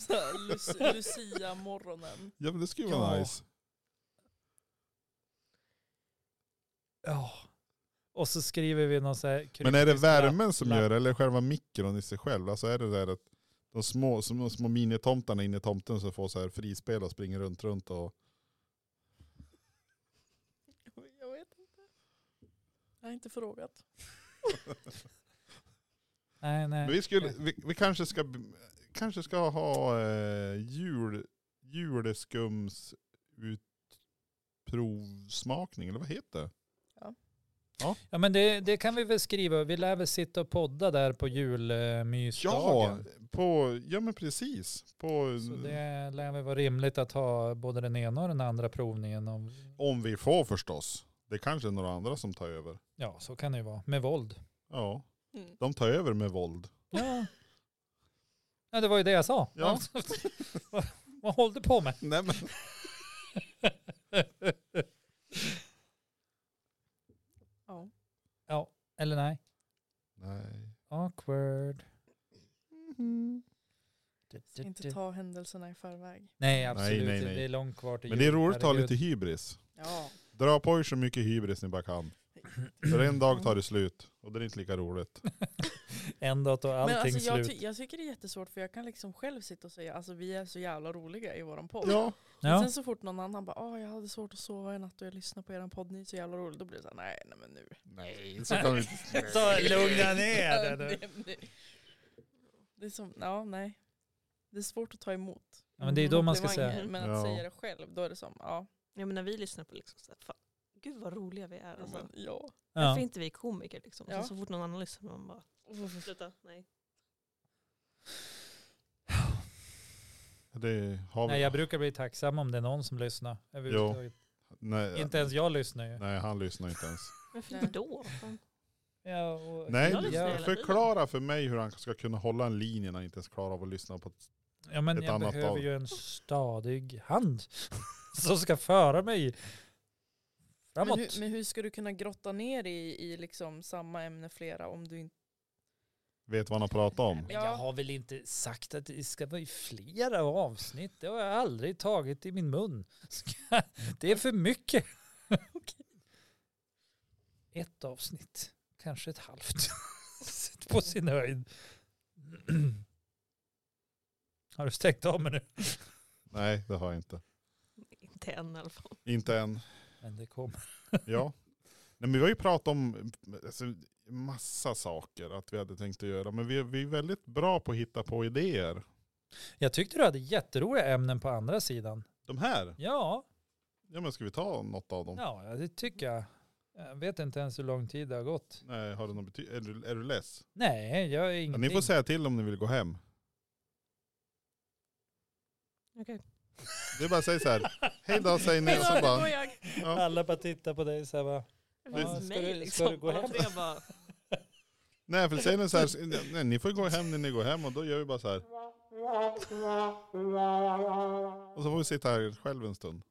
Så här, Lu- Lucia-morgonen.
ja, men det skulle vara
Ja.
nice.
Ja. Och så skriver vi någon så här
Men är det
kryptisk
värmen
lapp-
som
lapp.
gör det eller själva mikron i sig själv? Alltså är det där att de små, små, små minitomtarna inne i tomten som får så här frispel och springer runt runt och...
Jag vet inte. Jag har inte frågat.
Nej,
Men
nej.
vi, skulle, vi, vi kanske ska, kanske ska ha eh, jul, juleskums utprovsmakning, eller vad heter det?
Ja, men det, det kan vi väl skriva. Vi lär väl sitta och podda där på julmysdagen.
på, ja men precis. På,
Så det lär väl vara rimligt att ha både den ena och den andra provningen. Om,
Om vi får förstås. Det kanske är några andra som tar över.
ja, så kan det ju vara. Med våld.
Ja,
Mm.
de tar över med våld.
Ja. ja, det var ju det jag sa.
Ja.
vad, vad höll du på med?
Nej, men.
Ja.
Ja, eller nej.
Nej.
Awkward.
Ska inte ta händelserna i förväg.
Nej, absolut.
Nej, nej, nej.
Det är långt kvar till
Men det är
jul,
roligt att ha
herregud.
lite hybris.
Ja.
Dra på er så mycket hybris ni bara kan. För en dag tar det slut och det är inte lika roligt.
En dag tar allting
Men alltså, jag,
slut.
ty- jag tycker det är jättesvårt för jag kan liksom själv sitta och säga alltså vi är så jävla roliga i våran podd.
Ja,
Men
Ja,
sen så fort någon annan bara ah, jag hade svårt att sova i natt och jag lyssnade på eran podd, ni är så jävla rolig. Då blir det såhär nej nej men nu.
nej så kan vi inte.
så lugna ner
Ja,
dig
det,
nu.
det, det är som, ja nej. Det är svårt att ta emot.
Ja, men det är då man
Det
ska
var
säga.
ingen- Men att
Ja.
säga det själv, då är det som ja.
Ja, men när vi lyssnar på liksom så här, fan, gud vad roliga vi är. Alltså.
Men, ja.
Ja.
Varför inte vi är komiker liksom? Och
Ja.
sen så fort någon annan lyssnar man bara, sluta, nej.
Det har
Nej,
vi.
jag brukar bli tacksam om det är någon som lyssnar. överhuvudtaget.
Nej,
Inte ens jag lyssnar ju.
nej, han lyssnar inte ens.
Varför
Nej.
inte då? Fan.
Ja, och,
Nej,
Jag lyssnar
ja,
hela
förklara för mig hur han ska kunna hålla en linje när han inte ens klarar av att lyssna på ett...
ja, men
ett
jag
annat
behöver
tag.
ju en stadig hand som ska föra mig
Men,
framåt.
hur, men hur ska du kunna grotta ner i, i liksom samma ämne flera om du inte
vet vad han har pratat om.
Men jag har väl inte sagt att det ska vara i flera avsnitt. Det har jag aldrig tagit i min mun. Ska- Det är för mycket. Okej. Ett avsnitt, kanske ett halvt. På sin höjd. Har du stängt av mig nu?
Nej, det har jag inte.
Inte än i alla fall.
Inte än.
Men det kommer.
Ja. Nej, men vi har ju pratat om alltså, massa saker att vi hade tänkt att göra. Men vi, vi är väldigt bra på att hitta på idéer.
Jag tyckte du hade jätteroliga ämnen på andra sidan.
De här,
Ja,
ja men ska vi ta något av dem?
ja det tycker jag. Jag vet inte ens hur lång tid det har gått.
Nej, har det någon bety- är, du, är du less?
Nej, jag är
Ja,
ingenting.
ni får säga till om ni vill gå hem.
Okej.
Det är bara att säga så här, hej då säger ni och så
då går
bara,
jag.
Ja.
Alla bara tittar på dig så här bara.
Det
Ja,
finns
ska
mig
du- ska
liksom.
du gå
Alla
hem?
tre bara,
nej för säger ni så här, nej, ni får gå hem när ni går hem och då gör vi bara så här. Och så får vi sitta här själv en stund.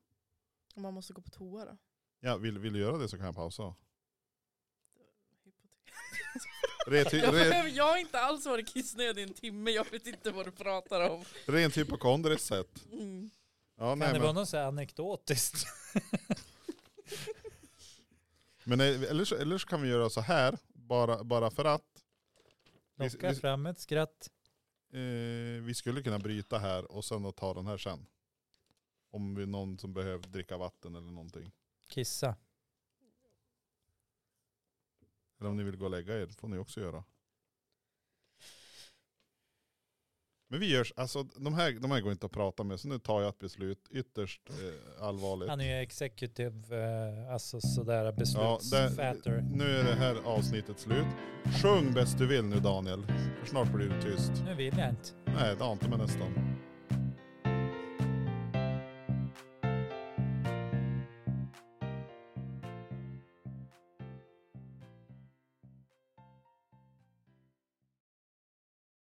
Om man måste gå på toa då?
Ja, vill, vill du göra det så kan jag pausa. Rety-
Jag,
re-
behöver, jag har inte alls varit kissnödig i en timme, jag vet inte vad du pratar om.
Rent hypokondriskt sett.
Mm.
Ja,
Kan
nej,
det vara
men,
något så här anekdotiskt?
men eh, eller, så, eller så kan vi göra så här, bara, bara för att. Vi,
Locka
vi,
fram ett skratt.
eh, vi skulle kunna bryta här och sen då ta den här sen. Om vi någon som behöver dricka vatten eller någonting.
Kissa.
Eller om ni vill gå och lägga er, får ni också göra. Men vi görs, alltså de här, de här går inte att prata med, så nu tar jag ett beslut ytterst eh, allvarligt.
Han är ju executive, eh, alltså sådär
Ja, där,
beslutsfatter.
nu är det här avsnittet slut. Sjung bäst du vill nu Daniel, för snart blir du tyst.
Nu vill jag inte.
Nej, det har inte med nästan.